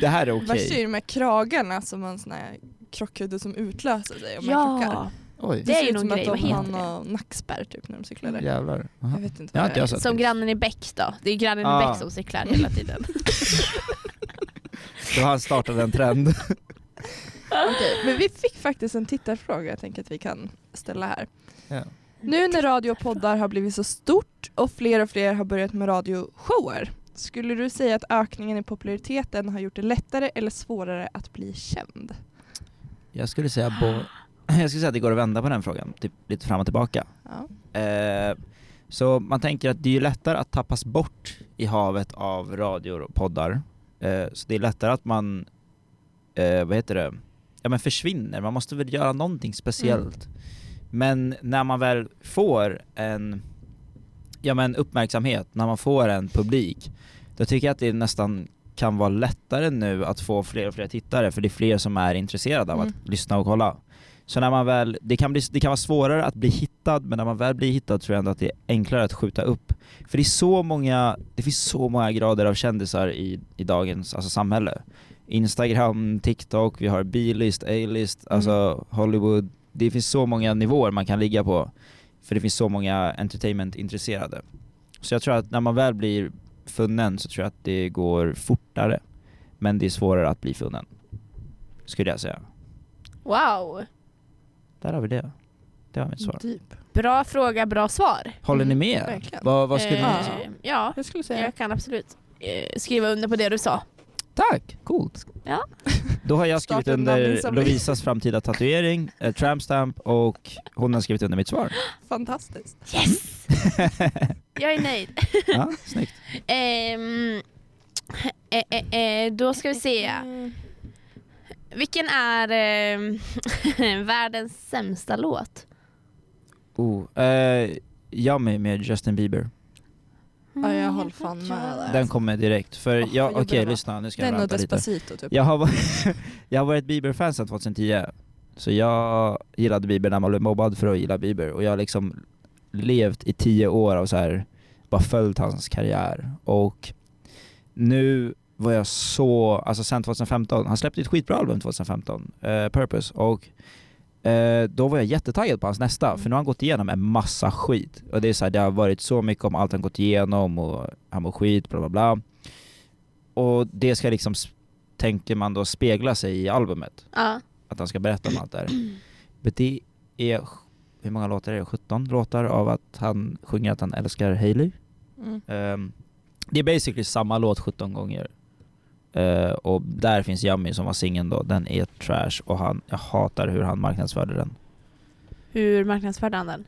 Speaker 3: det här är okej.
Speaker 2: Värst är ju de här kragarna som har en sån här krockkudde som utlöser sig om man krockar.
Speaker 1: Ja,
Speaker 3: Oj,
Speaker 1: Det är ju
Speaker 2: ser ut
Speaker 1: någon
Speaker 2: som att
Speaker 1: grej,
Speaker 2: de
Speaker 1: vad
Speaker 2: har
Speaker 1: heter det?
Speaker 2: någon nackspärr typ när de cyklar där.
Speaker 3: jävlar.
Speaker 2: Jag
Speaker 3: Aha.
Speaker 2: vet inte
Speaker 3: Jag
Speaker 2: vad
Speaker 3: har inte
Speaker 2: det
Speaker 3: jag
Speaker 2: är.
Speaker 3: sett.
Speaker 1: som grannen i Bäck då. Det är grannen i
Speaker 3: Ah.
Speaker 1: Bäck som cyklar hela tiden.
Speaker 3: Så han startade en trend.
Speaker 2: Okej, Men vi fick faktiskt en tittarfråga jag tänker att vi kan ställa här.
Speaker 3: Ja.
Speaker 2: Nu när radio och poddar har blivit så stort och fler och fler har börjat med radioshower, skulle du säga att ökningen i populariteten har gjort det lättare eller svårare att bli känd?
Speaker 3: Jag skulle säga bo- jag skulle säga att det går att vända på den frågan, typ lite fram och tillbaka.
Speaker 2: Ja.
Speaker 3: Eh, så man tänker att det är ju lättare att tappas bort i havet av radior och poddar. Eh, så det är lättare att man, eh, vad heter det, ja men försvinner. Man måste väl göra någonting speciellt. Men när man väl får en, ja men uppmärksamhet, när man får en publik, då tycker jag att det nästan kan vara lättare nu att få fler och fler tittare för det är fler som är intresserade av
Speaker 2: Mm.
Speaker 3: att lyssna och kolla. Så när man väl, det kan, bli, det kan vara svårare att bli hittad men när man väl blir hittad tror jag ändå att det är enklare att skjuta upp. För det är så många, det finns så många grader av kändisar i, i dagens alltså, samhälle. Instagram, TikTok, vi har B-list, A-list, alltså Hollywood. Det finns så många nivåer man kan ligga på. För det finns så många entertainment-intresserade. Så jag tror att när man väl blir funnen så tror jag att det går fortare. Men det är svårare att bli funnen. Skulle jag säga.
Speaker 1: Wow!
Speaker 3: Där har vi det. Det var mitt svar.
Speaker 2: Deep.
Speaker 1: Bra fråga, bra svar.
Speaker 3: Håller ni
Speaker 2: Mm,
Speaker 3: med?
Speaker 2: verkligen.
Speaker 3: Vad, vad skulle
Speaker 2: Eh,
Speaker 3: ni säga?
Speaker 1: Ja,
Speaker 2: Jag skulle säga
Speaker 1: jag kan absolut eh, skriva under på det du sa.
Speaker 3: Tack, coolt.
Speaker 1: Ja.
Speaker 3: Då har jag
Speaker 2: Starta
Speaker 3: skrivit
Speaker 2: en
Speaker 3: under
Speaker 2: namninsamling.
Speaker 3: Lovisas framtida tatuering, eh, trampstamp och hon har skrivit under mitt svar.
Speaker 2: fantastiskt.
Speaker 1: Yes! jag är nöjd.
Speaker 3: Ja, snyggt.
Speaker 1: Ehm, eh, eh, eh, då ska vi se.
Speaker 2: Mm.
Speaker 1: Vilken är eh, världens sämsta låt?
Speaker 3: Oh, eh, Yummy med Justin Bieber.
Speaker 2: Ja, jag håller fan med där.
Speaker 3: Mm, Den kommer direkt. För
Speaker 2: Alltså. Åh,
Speaker 3: jag,
Speaker 2: vad
Speaker 3: okej
Speaker 2: jobbig den var.
Speaker 3: lyssna, nu ska jag
Speaker 2: Den och
Speaker 3: ranta lite.
Speaker 2: Despacito typ.
Speaker 3: Jag har, varit, jag har varit Bieber-fan sedan 2010. Så jag gillade Bieber när man blev mobbad för att gilla Bieber. Och jag har liksom levt i tio år av så här bara följt hans karriär. Och nu var jag så, alltså sen 2015, han släppte ett skitbra album 2015, eh, Purpose. Och eh, då var jag jättetaggad på hans nästa, för nu har han gått igenom en massa skit. Och det är så här, det har varit så mycket om allt han gått igenom och han mår skit, bla bla bla. Och det ska liksom, s- tänker man då spegla sig i albumet
Speaker 1: Ja.
Speaker 3: att han ska berätta om allt det här. Men det är, hur många låtar är det? 17 låtar av att han sjunger att han älskar Hailey.
Speaker 2: Mm.
Speaker 3: Ehm, det är basically samma låt 17 gånger. Eh, och där finns Yummy som var singeln då, den är trash och han, jag hatar hur han marknadsförde den.
Speaker 1: Hur marknadsförde han den?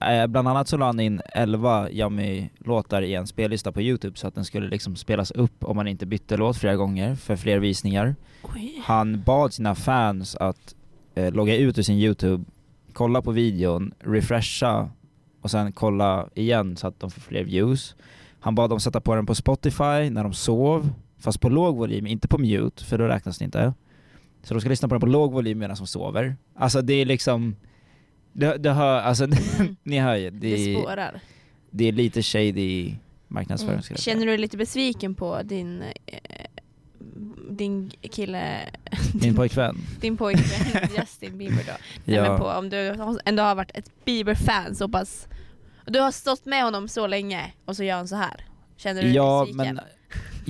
Speaker 3: Eh, bland annat så la han in 11 Yummy-låtar i en spellista på Youtube så att den skulle liksom spelas upp om man inte bytte låt flera gånger för fler visningar.
Speaker 1: Oj.
Speaker 3: Han bad sina fans att eh, logga ut ur sin YouTube, kolla på videon, refresha och sen kolla igen så att de får fler views. Han bad dem sätta på den på Spotify när de sov, fast på låg volym, inte på mute, för då räknas det inte. Så de ska lyssna på den på låg volym medan de sover. Alltså det är liksom, det, det hör, alltså ni hör ju,
Speaker 1: Mm. Det
Speaker 3: det, är-
Speaker 1: spårar.
Speaker 3: det är lite shady marknadsföring
Speaker 2: Mm.
Speaker 3: skulle jag säga.
Speaker 1: Känner du dig lite besviken på din, eh, din kille,
Speaker 3: Min pojkvän.
Speaker 1: din pojkvän Justin Bieber då? Nej, men på, om du ändå har varit ett Bieber-fan så pass, och du har stått med honom så länge och så gör han så här. Känner du dig
Speaker 3: ja,
Speaker 1: besviken?
Speaker 3: men,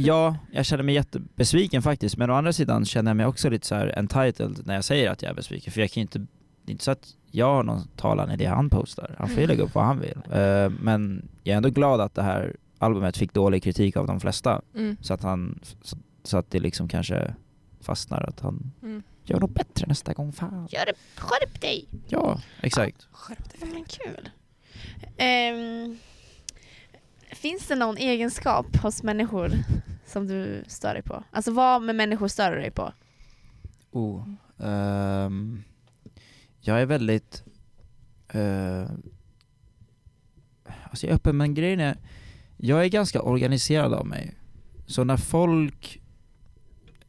Speaker 3: ja, jag känner mig jättebesviken faktiskt. Men å andra sidan känner jag mig också lite så här entitled när jag säger att jag är besviken. För jag kan ju inte, det är inte så att jag har någon talan i det han postar. Han får ju lägga upp vad han vill.
Speaker 1: Mm.
Speaker 3: Eh, men jag är ändå glad att det här albumet fick dålig kritik av de flesta.
Speaker 2: Mm.
Speaker 3: Så att, han, så, så att det liksom kanske fastnar att han
Speaker 2: Mm.
Speaker 3: gör något bättre nästa gång. Fan.
Speaker 1: Gör det, skärp dig!
Speaker 3: Ja, exakt.
Speaker 2: Skärp dig.
Speaker 1: Ja, Men kul. Ehm, finns det någon egenskap hos människor som du stör dig på? Alltså vad med människor stör du dig på?
Speaker 3: Oh, ehm, jag är väldigt... eh, alltså jag är öppen, men grejen är... Jag är ganska organiserad av mig. Så när folk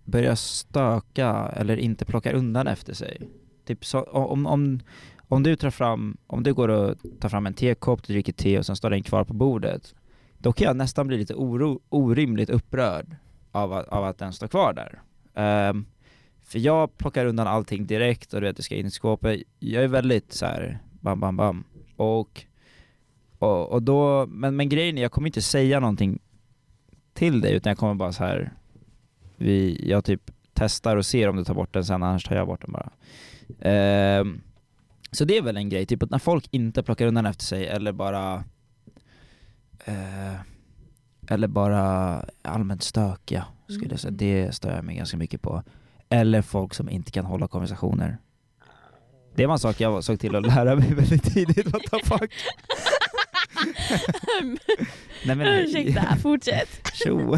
Speaker 3: börjar stöka eller inte plockar undan efter sig. Typ så, om, om, om, du tar fram, om du går och tar fram en tekopp, du dricker te och sen står den kvar på bordet. Då kan jag nästan bli lite oro, orimligt upprörd av, att- av att den står kvar där. Ehm, för jag plockar undan allting direkt och du vet det ska in i skåpet. Jag är väldigt så här bam bam bam. Och, och, och då, men, men grejen är jag kommer inte säga någonting till dig utan jag kommer bara så här vi, jag typ testar och ser om du tar bort den sen annars tar jag bort den bara. Ehm, så det är väl en grej, typ att när folk inte plockar undan efter sig eller bara eh, eller bara allmänt stökiga skulle jag säga. Det stör jag mig ganska mycket på. Eller folk som inte kan hålla konversationer. Det var en sak jag såg till att lära mig väldigt tidigt, what the fuck. Nej, men, eh,
Speaker 1: Ursäkta, fortsätt.
Speaker 3: Tjo.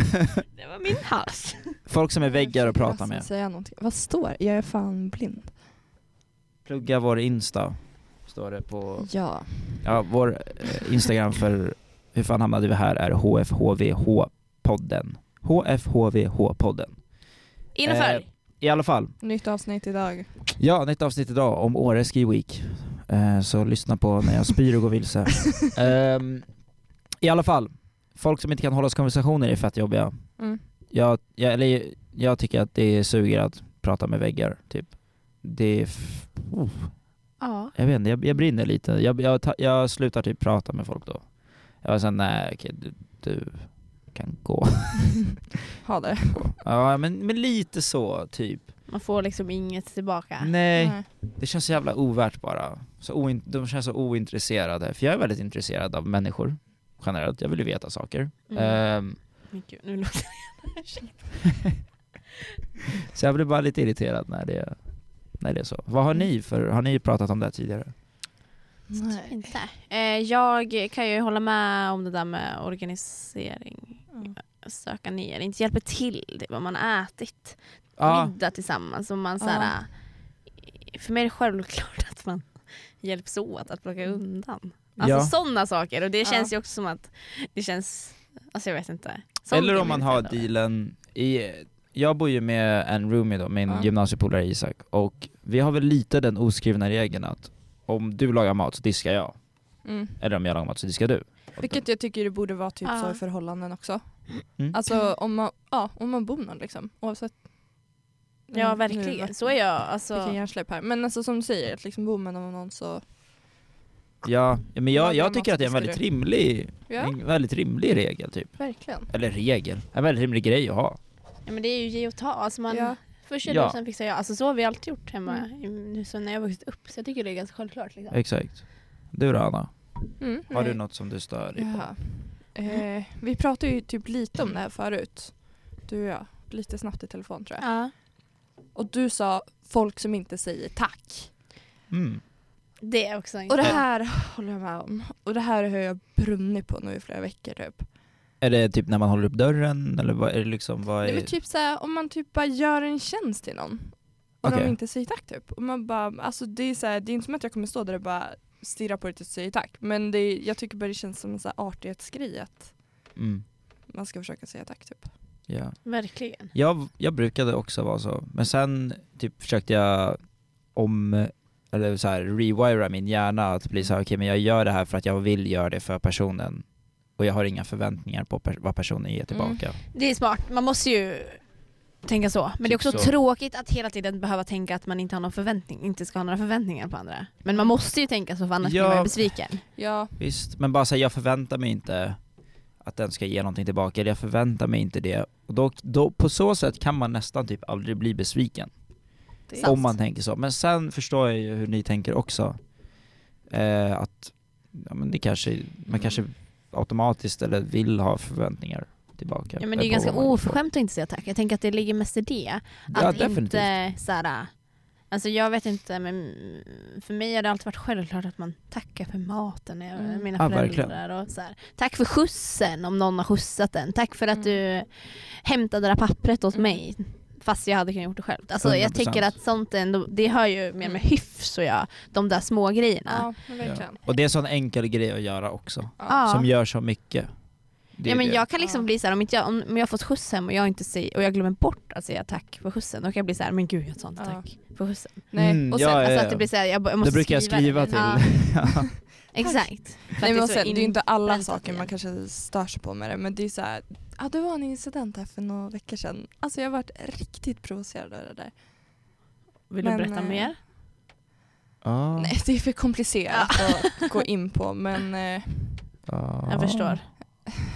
Speaker 1: Det var min hals.
Speaker 3: Folk som är väggar att prata med.
Speaker 2: Säga någonting. Vad står Jag är fan blind.
Speaker 3: Plugga vår Insta, står det på...
Speaker 2: Ja.
Speaker 3: Ja, vår eh, Instagram för hur fan hamnade vi här är HFHVH-podden. HFHVH-podden.
Speaker 1: In
Speaker 3: Eh,
Speaker 1: och följ.
Speaker 3: I alla fall,
Speaker 2: Nytt avsnitt idag.
Speaker 3: ja, nytt avsnitt idag om Åre Ski Week. Eh, så lyssna på när jag spyr och går vilse. Ehm, I alla fall, folk som inte kan hålla oss konversationer är fett jobbiga.
Speaker 2: Mm.
Speaker 3: Jag, jag, eller, jag tycker att det suger att prata med väggar, typ. Det är... F- oh,
Speaker 1: Ja.
Speaker 3: jag vet inte, jag, jag brinner lite. Jag, jag, ta- jag slutar typ prata med folk då. Jag var såhär, nej okej, du, du kan gå.
Speaker 2: Ha det.
Speaker 3: ja, men, men lite så, typ.
Speaker 1: Man får liksom inget tillbaka.
Speaker 3: Nej,
Speaker 2: Nej.
Speaker 1: Mm.
Speaker 3: det känns så jävla ovärt bara. Så oin, de känns så ointresserade. För jag är väldigt intresserad av människor, generellt. Jag vill ju veta saker.
Speaker 1: Mm.
Speaker 3: Ehm,
Speaker 1: Men gud, nu låter
Speaker 3: så jag blir bara lite irriterad när det, när det är så. Vad
Speaker 1: Mm.
Speaker 3: har ni för, har ni pratat om det här tidigare?
Speaker 1: det inte. Eh, jag kan ju hålla med om det där med organisering.
Speaker 2: Mm.
Speaker 1: Söka ner, inte hjälper till. Det är vad man har ätit.
Speaker 3: Ja,
Speaker 1: Middag tillsammans. Och man,
Speaker 2: Ja.
Speaker 1: såhär, För mig är det självklart att man hjälps åt att plocka undan. Alltså
Speaker 3: Ja.
Speaker 1: sådana saker. Och det
Speaker 2: Mm. Ja.
Speaker 1: känns ju också som att det känns, alltså jag vet inte. Sånt
Speaker 3: Eller
Speaker 1: är
Speaker 3: om man
Speaker 1: min
Speaker 3: har
Speaker 1: fördel.
Speaker 3: dealen i, jag bor ju med en roomie då, min
Speaker 2: Ja.
Speaker 3: gymnasiepolare Isak, och vi har väl lite den oskrivna regeln att om du lagar mat så diskar jag,
Speaker 2: Mm.
Speaker 3: eller om jag lagar mat så diskar du.
Speaker 2: Vilket jag tycker det borde vara typ
Speaker 1: Ja.
Speaker 2: så i förhållanden också.
Speaker 3: Mm.
Speaker 2: Alltså om man, ja, om man bor någon liksom. Oavsett. Mm,
Speaker 1: Ja
Speaker 2: Nu-
Speaker 1: verkligen,
Speaker 2: nu-
Speaker 1: så är jag. Alltså,
Speaker 2: Vilken hjärnsläpp här. Men alltså som du säger, att liksom bor man med någon så...
Speaker 3: Ja, men jag,
Speaker 2: Lagar
Speaker 3: jag
Speaker 2: mat
Speaker 3: tycker
Speaker 2: så
Speaker 3: att det är en
Speaker 2: diskar
Speaker 3: väldigt
Speaker 2: du.
Speaker 3: rimlig,
Speaker 2: Ja,
Speaker 3: en väldigt rimlig regel typ.
Speaker 2: verkligen.
Speaker 3: Eller regel, en väldigt rimlig grej att ha.
Speaker 1: ja, men det är ju ge och ta. Alltså man,
Speaker 2: Ja. Mm.
Speaker 1: Först gör
Speaker 3: Ja.
Speaker 1: du, sen fixar jag. Alltså så har vi alltid gjort hemma i- nu sen när jag vuxit upp. Så jag tycker det är ganska självklart. Liksom.
Speaker 3: Exakt. Du då Anna,
Speaker 2: Mm,
Speaker 3: har du
Speaker 2: nej.
Speaker 3: något som du stör dig på?
Speaker 2: Jaha. Eh, vi pratade ju typ lite om det här förut. Du och jag. Lite snabbt i telefon tror jag.
Speaker 1: Ja.
Speaker 2: Och du sa folk som inte säger tack.
Speaker 3: Mm.
Speaker 1: Det är också en
Speaker 2: Och det här håller jag med om. Och det här har jag brunnit på nu i flera veckor typ.
Speaker 3: Är det typ när man håller upp dörren, eller vad är det liksom, vad
Speaker 2: Nej,
Speaker 3: är...
Speaker 2: men typ såhär, om man typ bara gör en tjänst till någon och
Speaker 3: Okej.
Speaker 2: de inte säger tack typ. Och man bara, alltså det är, såhär, det är inte som att jag kommer stå där och bara stirra på det och säga tack. Men det är, jag tycker bara det känns som en såhär artighetsgrej att
Speaker 3: Mm.
Speaker 2: man ska försöka säga tack typ.
Speaker 3: Ja.
Speaker 1: Verkligen.
Speaker 3: Jag, jag brukade också vara så, men sen typ försökte jag om, eller så här, rewira min hjärna att bli så här, okej men jag gör det här för att jag vill göra det för personen och jag har inga förväntningar på per- vad personen ger tillbaka.
Speaker 1: Det är smart. Man måste ju tänka så. Men det är
Speaker 3: Typ
Speaker 1: också
Speaker 3: så.
Speaker 1: tråkigt att hela tiden behöva tänka att man inte, har någon förväntning, inte ska ha några förväntningar på andra. Men man måste ju tänka så för annars
Speaker 3: Ja.
Speaker 1: blir man ju besviken.
Speaker 2: Ja,
Speaker 3: Visst, men bara så här, jag förväntar mig inte att den ska ge någonting tillbaka, eller jag förväntar mig inte det. Och då, då, på så sätt kan man nästan typ aldrig bli besviken.
Speaker 2: det
Speaker 1: Sant.
Speaker 3: Om man tänker så. Men sen förstår jag ju hur ni tänker också. Eh, att ja, men det kanske, man kanske automatiskt eller vill ha förväntningar tillbaka. Eh,
Speaker 1: Ja, men det är ju
Speaker 3: på
Speaker 1: ganska
Speaker 3: vad man-
Speaker 1: oförskämt att inte säga tack. Jag tänker att det ligger mest i det.
Speaker 3: Ja,
Speaker 1: Att
Speaker 3: definitivt.
Speaker 1: inte såhär, alltså jag vet inte men för mig har det alltid varit självklart att man tackar för maten, jag,
Speaker 2: Mm.
Speaker 1: mina
Speaker 3: Ja,
Speaker 1: föräldrar och såhär. Tack för skjutsen om någon har skjutsat den, tack för att du hämtade det där pappret åt
Speaker 2: Mm.
Speaker 1: mig. Fast jag hade kunnat gjort det själv. Alltså, jag
Speaker 3: 100%.
Speaker 1: tycker att sånt är ändå, det hör ju mer med hyfs och jag, de där små grejerna.
Speaker 2: Mm. ja, men verkligen.
Speaker 3: Och det är en sån enkel grej att göra också.
Speaker 1: Ja.
Speaker 3: Som gör så mycket. Det är
Speaker 1: ja, men
Speaker 3: det.
Speaker 1: jag kan liksom
Speaker 2: Ja.
Speaker 1: bli så här, om, inte jag, om om jag har fått skjuts hem och jag, inte säger, och jag glömmer bort att säga tack för skjutsen, då kan jag bli så här, men gud jag sa inte
Speaker 2: Ja.
Speaker 1: tack för skjutsen.
Speaker 2: Nej,
Speaker 3: Mm,
Speaker 2: och sen,
Speaker 3: ja,
Speaker 1: Alltså
Speaker 3: ja,
Speaker 1: att det blir så här, jag, b- jag
Speaker 3: det
Speaker 1: måste
Speaker 3: brukar jag skriva
Speaker 1: det.
Speaker 3: till.
Speaker 1: Ja,
Speaker 3: Ja.
Speaker 1: exakt. För att
Speaker 2: Nej,
Speaker 1: alltså, är
Speaker 2: men och
Speaker 1: så
Speaker 2: sen, det är ju inte alla
Speaker 1: inpräntat i
Speaker 2: saker man
Speaker 1: en.
Speaker 2: kanske stör sig på med det men det är så här, ja det var en incident här för några veckor sedan. Alltså jag har varit riktigt provocerad av det där.
Speaker 1: Vill du
Speaker 2: Men,
Speaker 1: berätta
Speaker 2: eh,
Speaker 1: mer?
Speaker 3: Ah,
Speaker 2: Nej det är för komplicerat att gå in på men eh,
Speaker 3: ah.
Speaker 1: Jag förstår.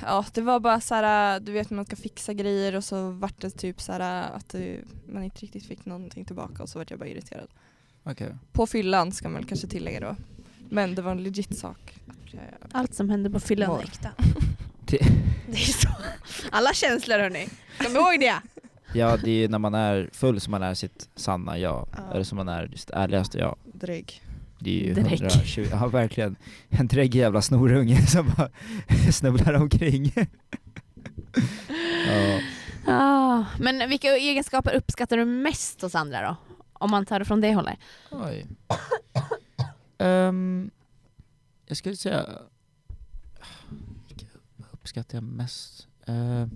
Speaker 2: ja det var bara så här, äh, du vet när man ska fixa grejer och så vart det typ så här att det, man inte riktigt fick någonting tillbaka och så vart jag bara irriterad.
Speaker 3: Okej.
Speaker 2: På fyllan ska man väl kanske tillägga då. Men det var en legit sak. att jag-
Speaker 1: Allt som händer på fyllan är
Speaker 2: Mår.
Speaker 1: äkta.
Speaker 3: Det-
Speaker 1: Det är så. Alla känslor hörni. Kom ihåg det.
Speaker 3: Ja, det är ju när man är full som man är sitt sanna jag.
Speaker 2: Ja.
Speaker 3: Eller som man är sitt ärligaste jag.
Speaker 2: drägg.
Speaker 3: Det är ju
Speaker 1: Drägg.
Speaker 3: 120, ja verkligen. En drägg jävla snorunge som bara snubblar omkring. ja.
Speaker 1: Ah, men vilka egenskaper uppskattar du mest hos andra då? Om man tar det från det hållet.
Speaker 3: Oj. Ehm, jag skulle säga... Vilka uppskattar jag mest? Ehm,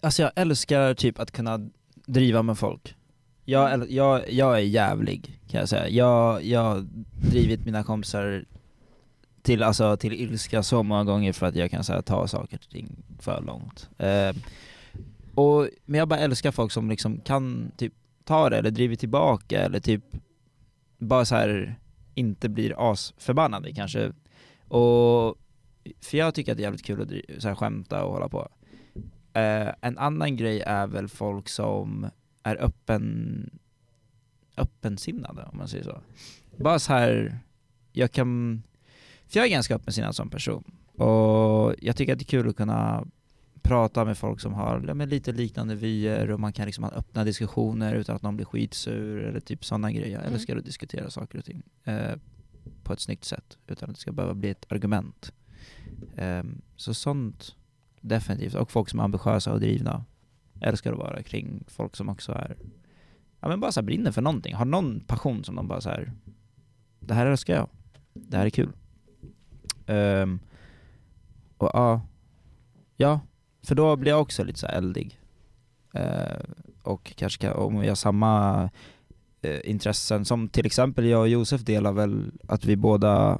Speaker 3: alltså jag älskar typ att kunna driva med folk. Jag, äl- jag, jag är jävlig kan jag säga. Jag, jag har drivit mina kompisar till, alltså, till ilska så många gånger för att jag kan så här, ta saker och ting för långt. Ehm, och, men jag bara älskar folk som liksom kan typ tar det eller driver tillbaka eller typ bara så här inte blir asförbannade kanske. Och, för jag tycker att det är jävligt kul att dri- så här, skämta och hålla på. Eh, en annan grej är väl folk som är öppen, öppensinnade om man säger så. Bara så här, jag kan, för jag är ganska öppensinnad som person och jag tycker att det är kul att kunna prata med folk som har ja, men lite liknande vyer och man kan liksom ha öppna diskussioner utan att någon blir skitsur eller typ sådana grejer. Jag
Speaker 1: Mm.
Speaker 3: älskar att diskutera saker och ting eh, på ett snyggt sätt utan att det ska behöva bli ett argument. Ehm, så sånt definitivt. Och folk som är ambitiösa och drivna. Älskar att vara kring folk som också är, ja men bara så här brinner för någonting. Har någon passion som de bara så här. det här älskar jag. Det här är kul. Ehm, och ja, ja, för då blir jag också lite så här eldig. Eh, och kanske kan, om vi har samma eh, intressen, som till exempel jag och Josef delar väl att vi båda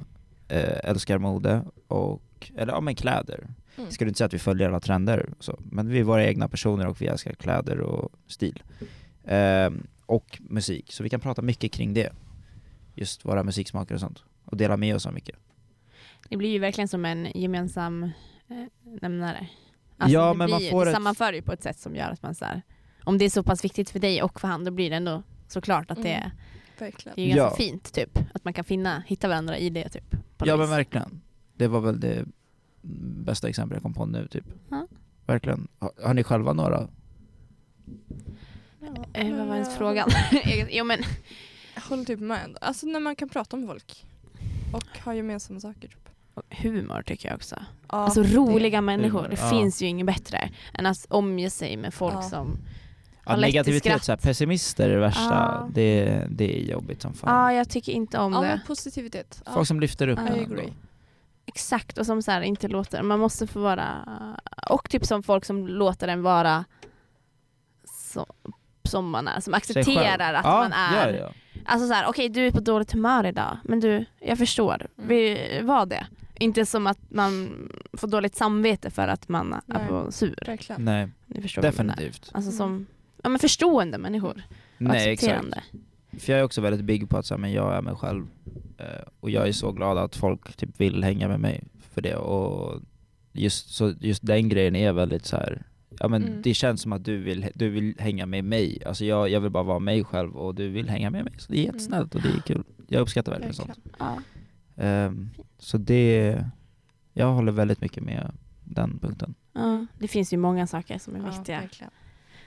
Speaker 3: eh, älskar mode och, eller ja men kläder.
Speaker 2: Mm.
Speaker 3: Jag skulle inte säga att vi följer alla trender och så, men vi är våra egna personer och vi älskar kläder och stil. Ehm, och musik, så vi kan prata mycket kring det. Just våra musiksmaker och sånt. Och dela med oss av mycket.
Speaker 1: Det blir ju verkligen som en gemensam eh, nämnare. Alltså,
Speaker 3: Ja,
Speaker 1: det
Speaker 3: men
Speaker 1: blir
Speaker 3: man
Speaker 1: ju-
Speaker 3: får
Speaker 1: det
Speaker 3: ett-
Speaker 1: sammanför ju på ett sätt som gör att man så här, om det är så pass viktigt för dig och för han, då blir det ändå såklart att det,
Speaker 2: Mm.
Speaker 1: är
Speaker 2: Verkligen.
Speaker 1: det är ju ganska
Speaker 3: Ja.
Speaker 1: fint typ. Att man kan finna, hitta varandra i det typ. på något
Speaker 3: Ja
Speaker 1: vis.
Speaker 3: men verkligen. Det var väl det bästa exempel jag kom på nu typ.
Speaker 1: Ja.
Speaker 3: Verkligen. Har, har ni själva några?
Speaker 1: Eh, vad var ens frågan? jo men,
Speaker 2: Jag håller typ med ändå. Alltså när man kan prata med folk. Och ha gemensamma saker typ.
Speaker 1: humor tycker jag också.
Speaker 2: Ja,
Speaker 1: Alltså
Speaker 2: det-
Speaker 1: roliga människor,
Speaker 3: Humor,
Speaker 1: det
Speaker 3: ja.
Speaker 1: finns ju inget bättre än att omge sig med folk
Speaker 2: Ja.
Speaker 1: som...
Speaker 3: Ja,
Speaker 1: lätt till
Speaker 3: negativitet,
Speaker 1: skratt.
Speaker 3: så här, pessimister är det värsta.
Speaker 1: Ja.
Speaker 3: Det, det är jobbigt som
Speaker 1: Ja,
Speaker 3: fan.
Speaker 1: ah, jag tycker inte om
Speaker 2: Ja
Speaker 1: det.
Speaker 2: men positivitet. Ja.
Speaker 3: Folk som lyfter upp
Speaker 1: I
Speaker 3: en ändå.
Speaker 2: agree.
Speaker 1: Exakt, och som så här inte låter, man måste få vara, och typ som folk som låter en vara så, som man är, som
Speaker 3: Sig själv.
Speaker 1: accepterar att
Speaker 3: Ja,
Speaker 1: man är.
Speaker 3: Ja, ja.
Speaker 1: Alltså så här, okej du är på dåligt humör idag, men du, jag förstår, vi var det. Inte som att man får dåligt samvete för att man är
Speaker 2: Nej.
Speaker 1: på sur.
Speaker 2: Verkligen.
Speaker 3: Nej,
Speaker 1: Ni förstår vad jag menar.
Speaker 3: definitivt.
Speaker 1: Alltså
Speaker 2: Mm.
Speaker 1: som, ja men förstående människor. och
Speaker 3: Nej, exakt.
Speaker 1: accepterande.
Speaker 3: För jag är också väldigt big på att så här, men jag är mig själv. Eh, och jag är så glad att folk typ vill hänga med mig för det. Och just, så, just den grejen är väldigt så här. Ja, men
Speaker 2: Mm.
Speaker 3: Det känns som att du vill, du vill hänga med mig. Alltså jag, jag vill bara vara mig själv och du vill hänga med mig. Så det är jättesnällt och det är kul. Jag uppskattar verkligen sånt.
Speaker 2: Verkligen.
Speaker 1: Ja.
Speaker 3: Ehm, så det, jag håller väldigt mycket med den punkten.
Speaker 1: Ja. Det finns ju många saker som är viktiga
Speaker 2: verkligen.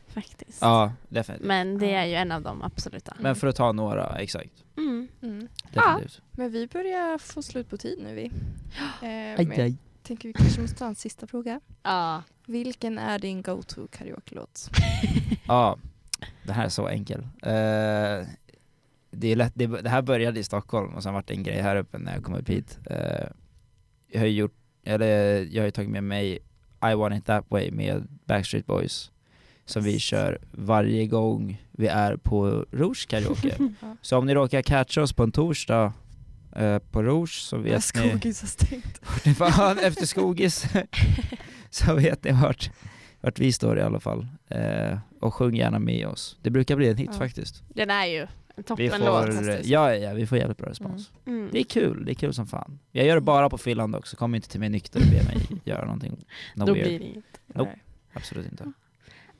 Speaker 1: faktiskt.
Speaker 3: Ja, definitivt.
Speaker 1: Men det är ju en av de absoluta.
Speaker 3: Men för att ta några, exakt.
Speaker 1: Mm.
Speaker 2: Mm.
Speaker 3: Definitivt.
Speaker 2: Men vi börjar få slut på tid nu vi. Eh, men
Speaker 3: Aj,
Speaker 2: jag
Speaker 3: aj.
Speaker 2: tänker vi kanske måste ta en sista fråga.
Speaker 1: Ja.
Speaker 2: Vilken är din go-to karaoke-låt?
Speaker 3: Ja, det här är så enkel. Eh, det, är lätt, det, det här började i Stockholm och sen vart det en grej här uppe när jag kom upp hit. Eh, jag har ju gjort, eller jag har ju tagit med mig I want it that way med Backstreet Boys som vi kör varje gång vi är på Rouge karaoke.
Speaker 2: Ja.
Speaker 3: så om ni råkar catcha oss på en torsdag eh, på Rouge så vet ni
Speaker 2: Skogis har stängt.
Speaker 3: ni fan efter skogis så vet ni vart, vart vi står i alla fall. Eh, och sjung gärna med oss. Det brukar bli en hit
Speaker 2: Ja.
Speaker 3: faktiskt.
Speaker 1: Den är ju en
Speaker 3: Vi
Speaker 1: toppenlåt.
Speaker 3: får,
Speaker 2: fantastiskt.
Speaker 3: ja, ja, vi får jävligt bra respons.
Speaker 1: Mm.
Speaker 3: Det är kul, det är kul som fan. Jag gör det bara på Finland också, kom inte till mig nykter och be mig göra någonting no
Speaker 1: Då
Speaker 3: weird.
Speaker 1: blir Mm. det inget.
Speaker 3: Nope. Absolut inte.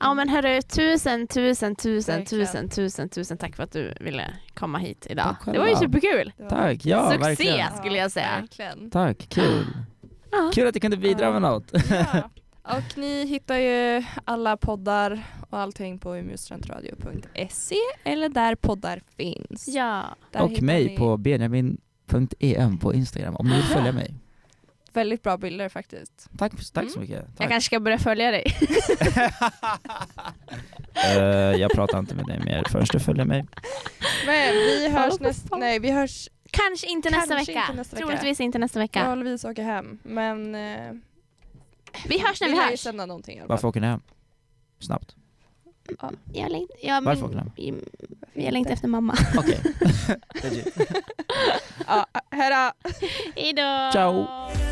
Speaker 1: Ja men hörru, tusen, tusen, tusen,
Speaker 2: Verkligen.
Speaker 1: tusen, tusen, tusen tack för att du ville komma hit idag.
Speaker 3: Tack
Speaker 1: Det var ju
Speaker 3: själva.
Speaker 1: superkul!
Speaker 3: Tack, ja
Speaker 1: Succé!
Speaker 3: verkligen.
Speaker 1: skulle jag säga.
Speaker 2: Verkligen.
Speaker 3: Tack, kul.
Speaker 1: Ja.
Speaker 3: Kul att du kunde bidra med något.
Speaker 2: Ja. Och ni hittar ju alla poddar och allting på umutstudentradio.se eller där poddar finns.
Speaker 1: Ja.
Speaker 2: Där
Speaker 3: och
Speaker 2: hittar
Speaker 3: mig
Speaker 2: ni
Speaker 3: på benjamin.em på Instagram om ni vill följa mig.
Speaker 2: Väldigt bra bilder faktiskt.
Speaker 3: Tack, tack så
Speaker 1: Mm.
Speaker 3: mycket. Tack.
Speaker 1: Jag kanske ska börja följa dig.
Speaker 3: Eh, jag pratar inte med dig mer förrän du följer mig.
Speaker 2: Men vi hörs
Speaker 1: vad
Speaker 2: nästa...
Speaker 1: fan.
Speaker 2: Nej, vi hörs...
Speaker 1: Kanske inte
Speaker 2: Kanske
Speaker 1: nästa vecka.
Speaker 2: inte nästa vecka.
Speaker 1: Troligtvis inte nästa
Speaker 2: Jag
Speaker 1: vecka.
Speaker 2: håller vis åka hem. Men... Eh,
Speaker 1: Vi hörs när vi
Speaker 2: lär ju
Speaker 1: hörs.
Speaker 2: sända någonting i alla
Speaker 3: Varför
Speaker 2: fall.
Speaker 3: åker ni hem? Snabbt.
Speaker 1: Jag längtar, jag,
Speaker 3: Varför åker
Speaker 1: men,
Speaker 3: han?
Speaker 1: jag, jag längtar efter mamma.
Speaker 3: Okej. Legit.
Speaker 2: Ja, hejdå!
Speaker 1: Hejdå!
Speaker 3: Ciao.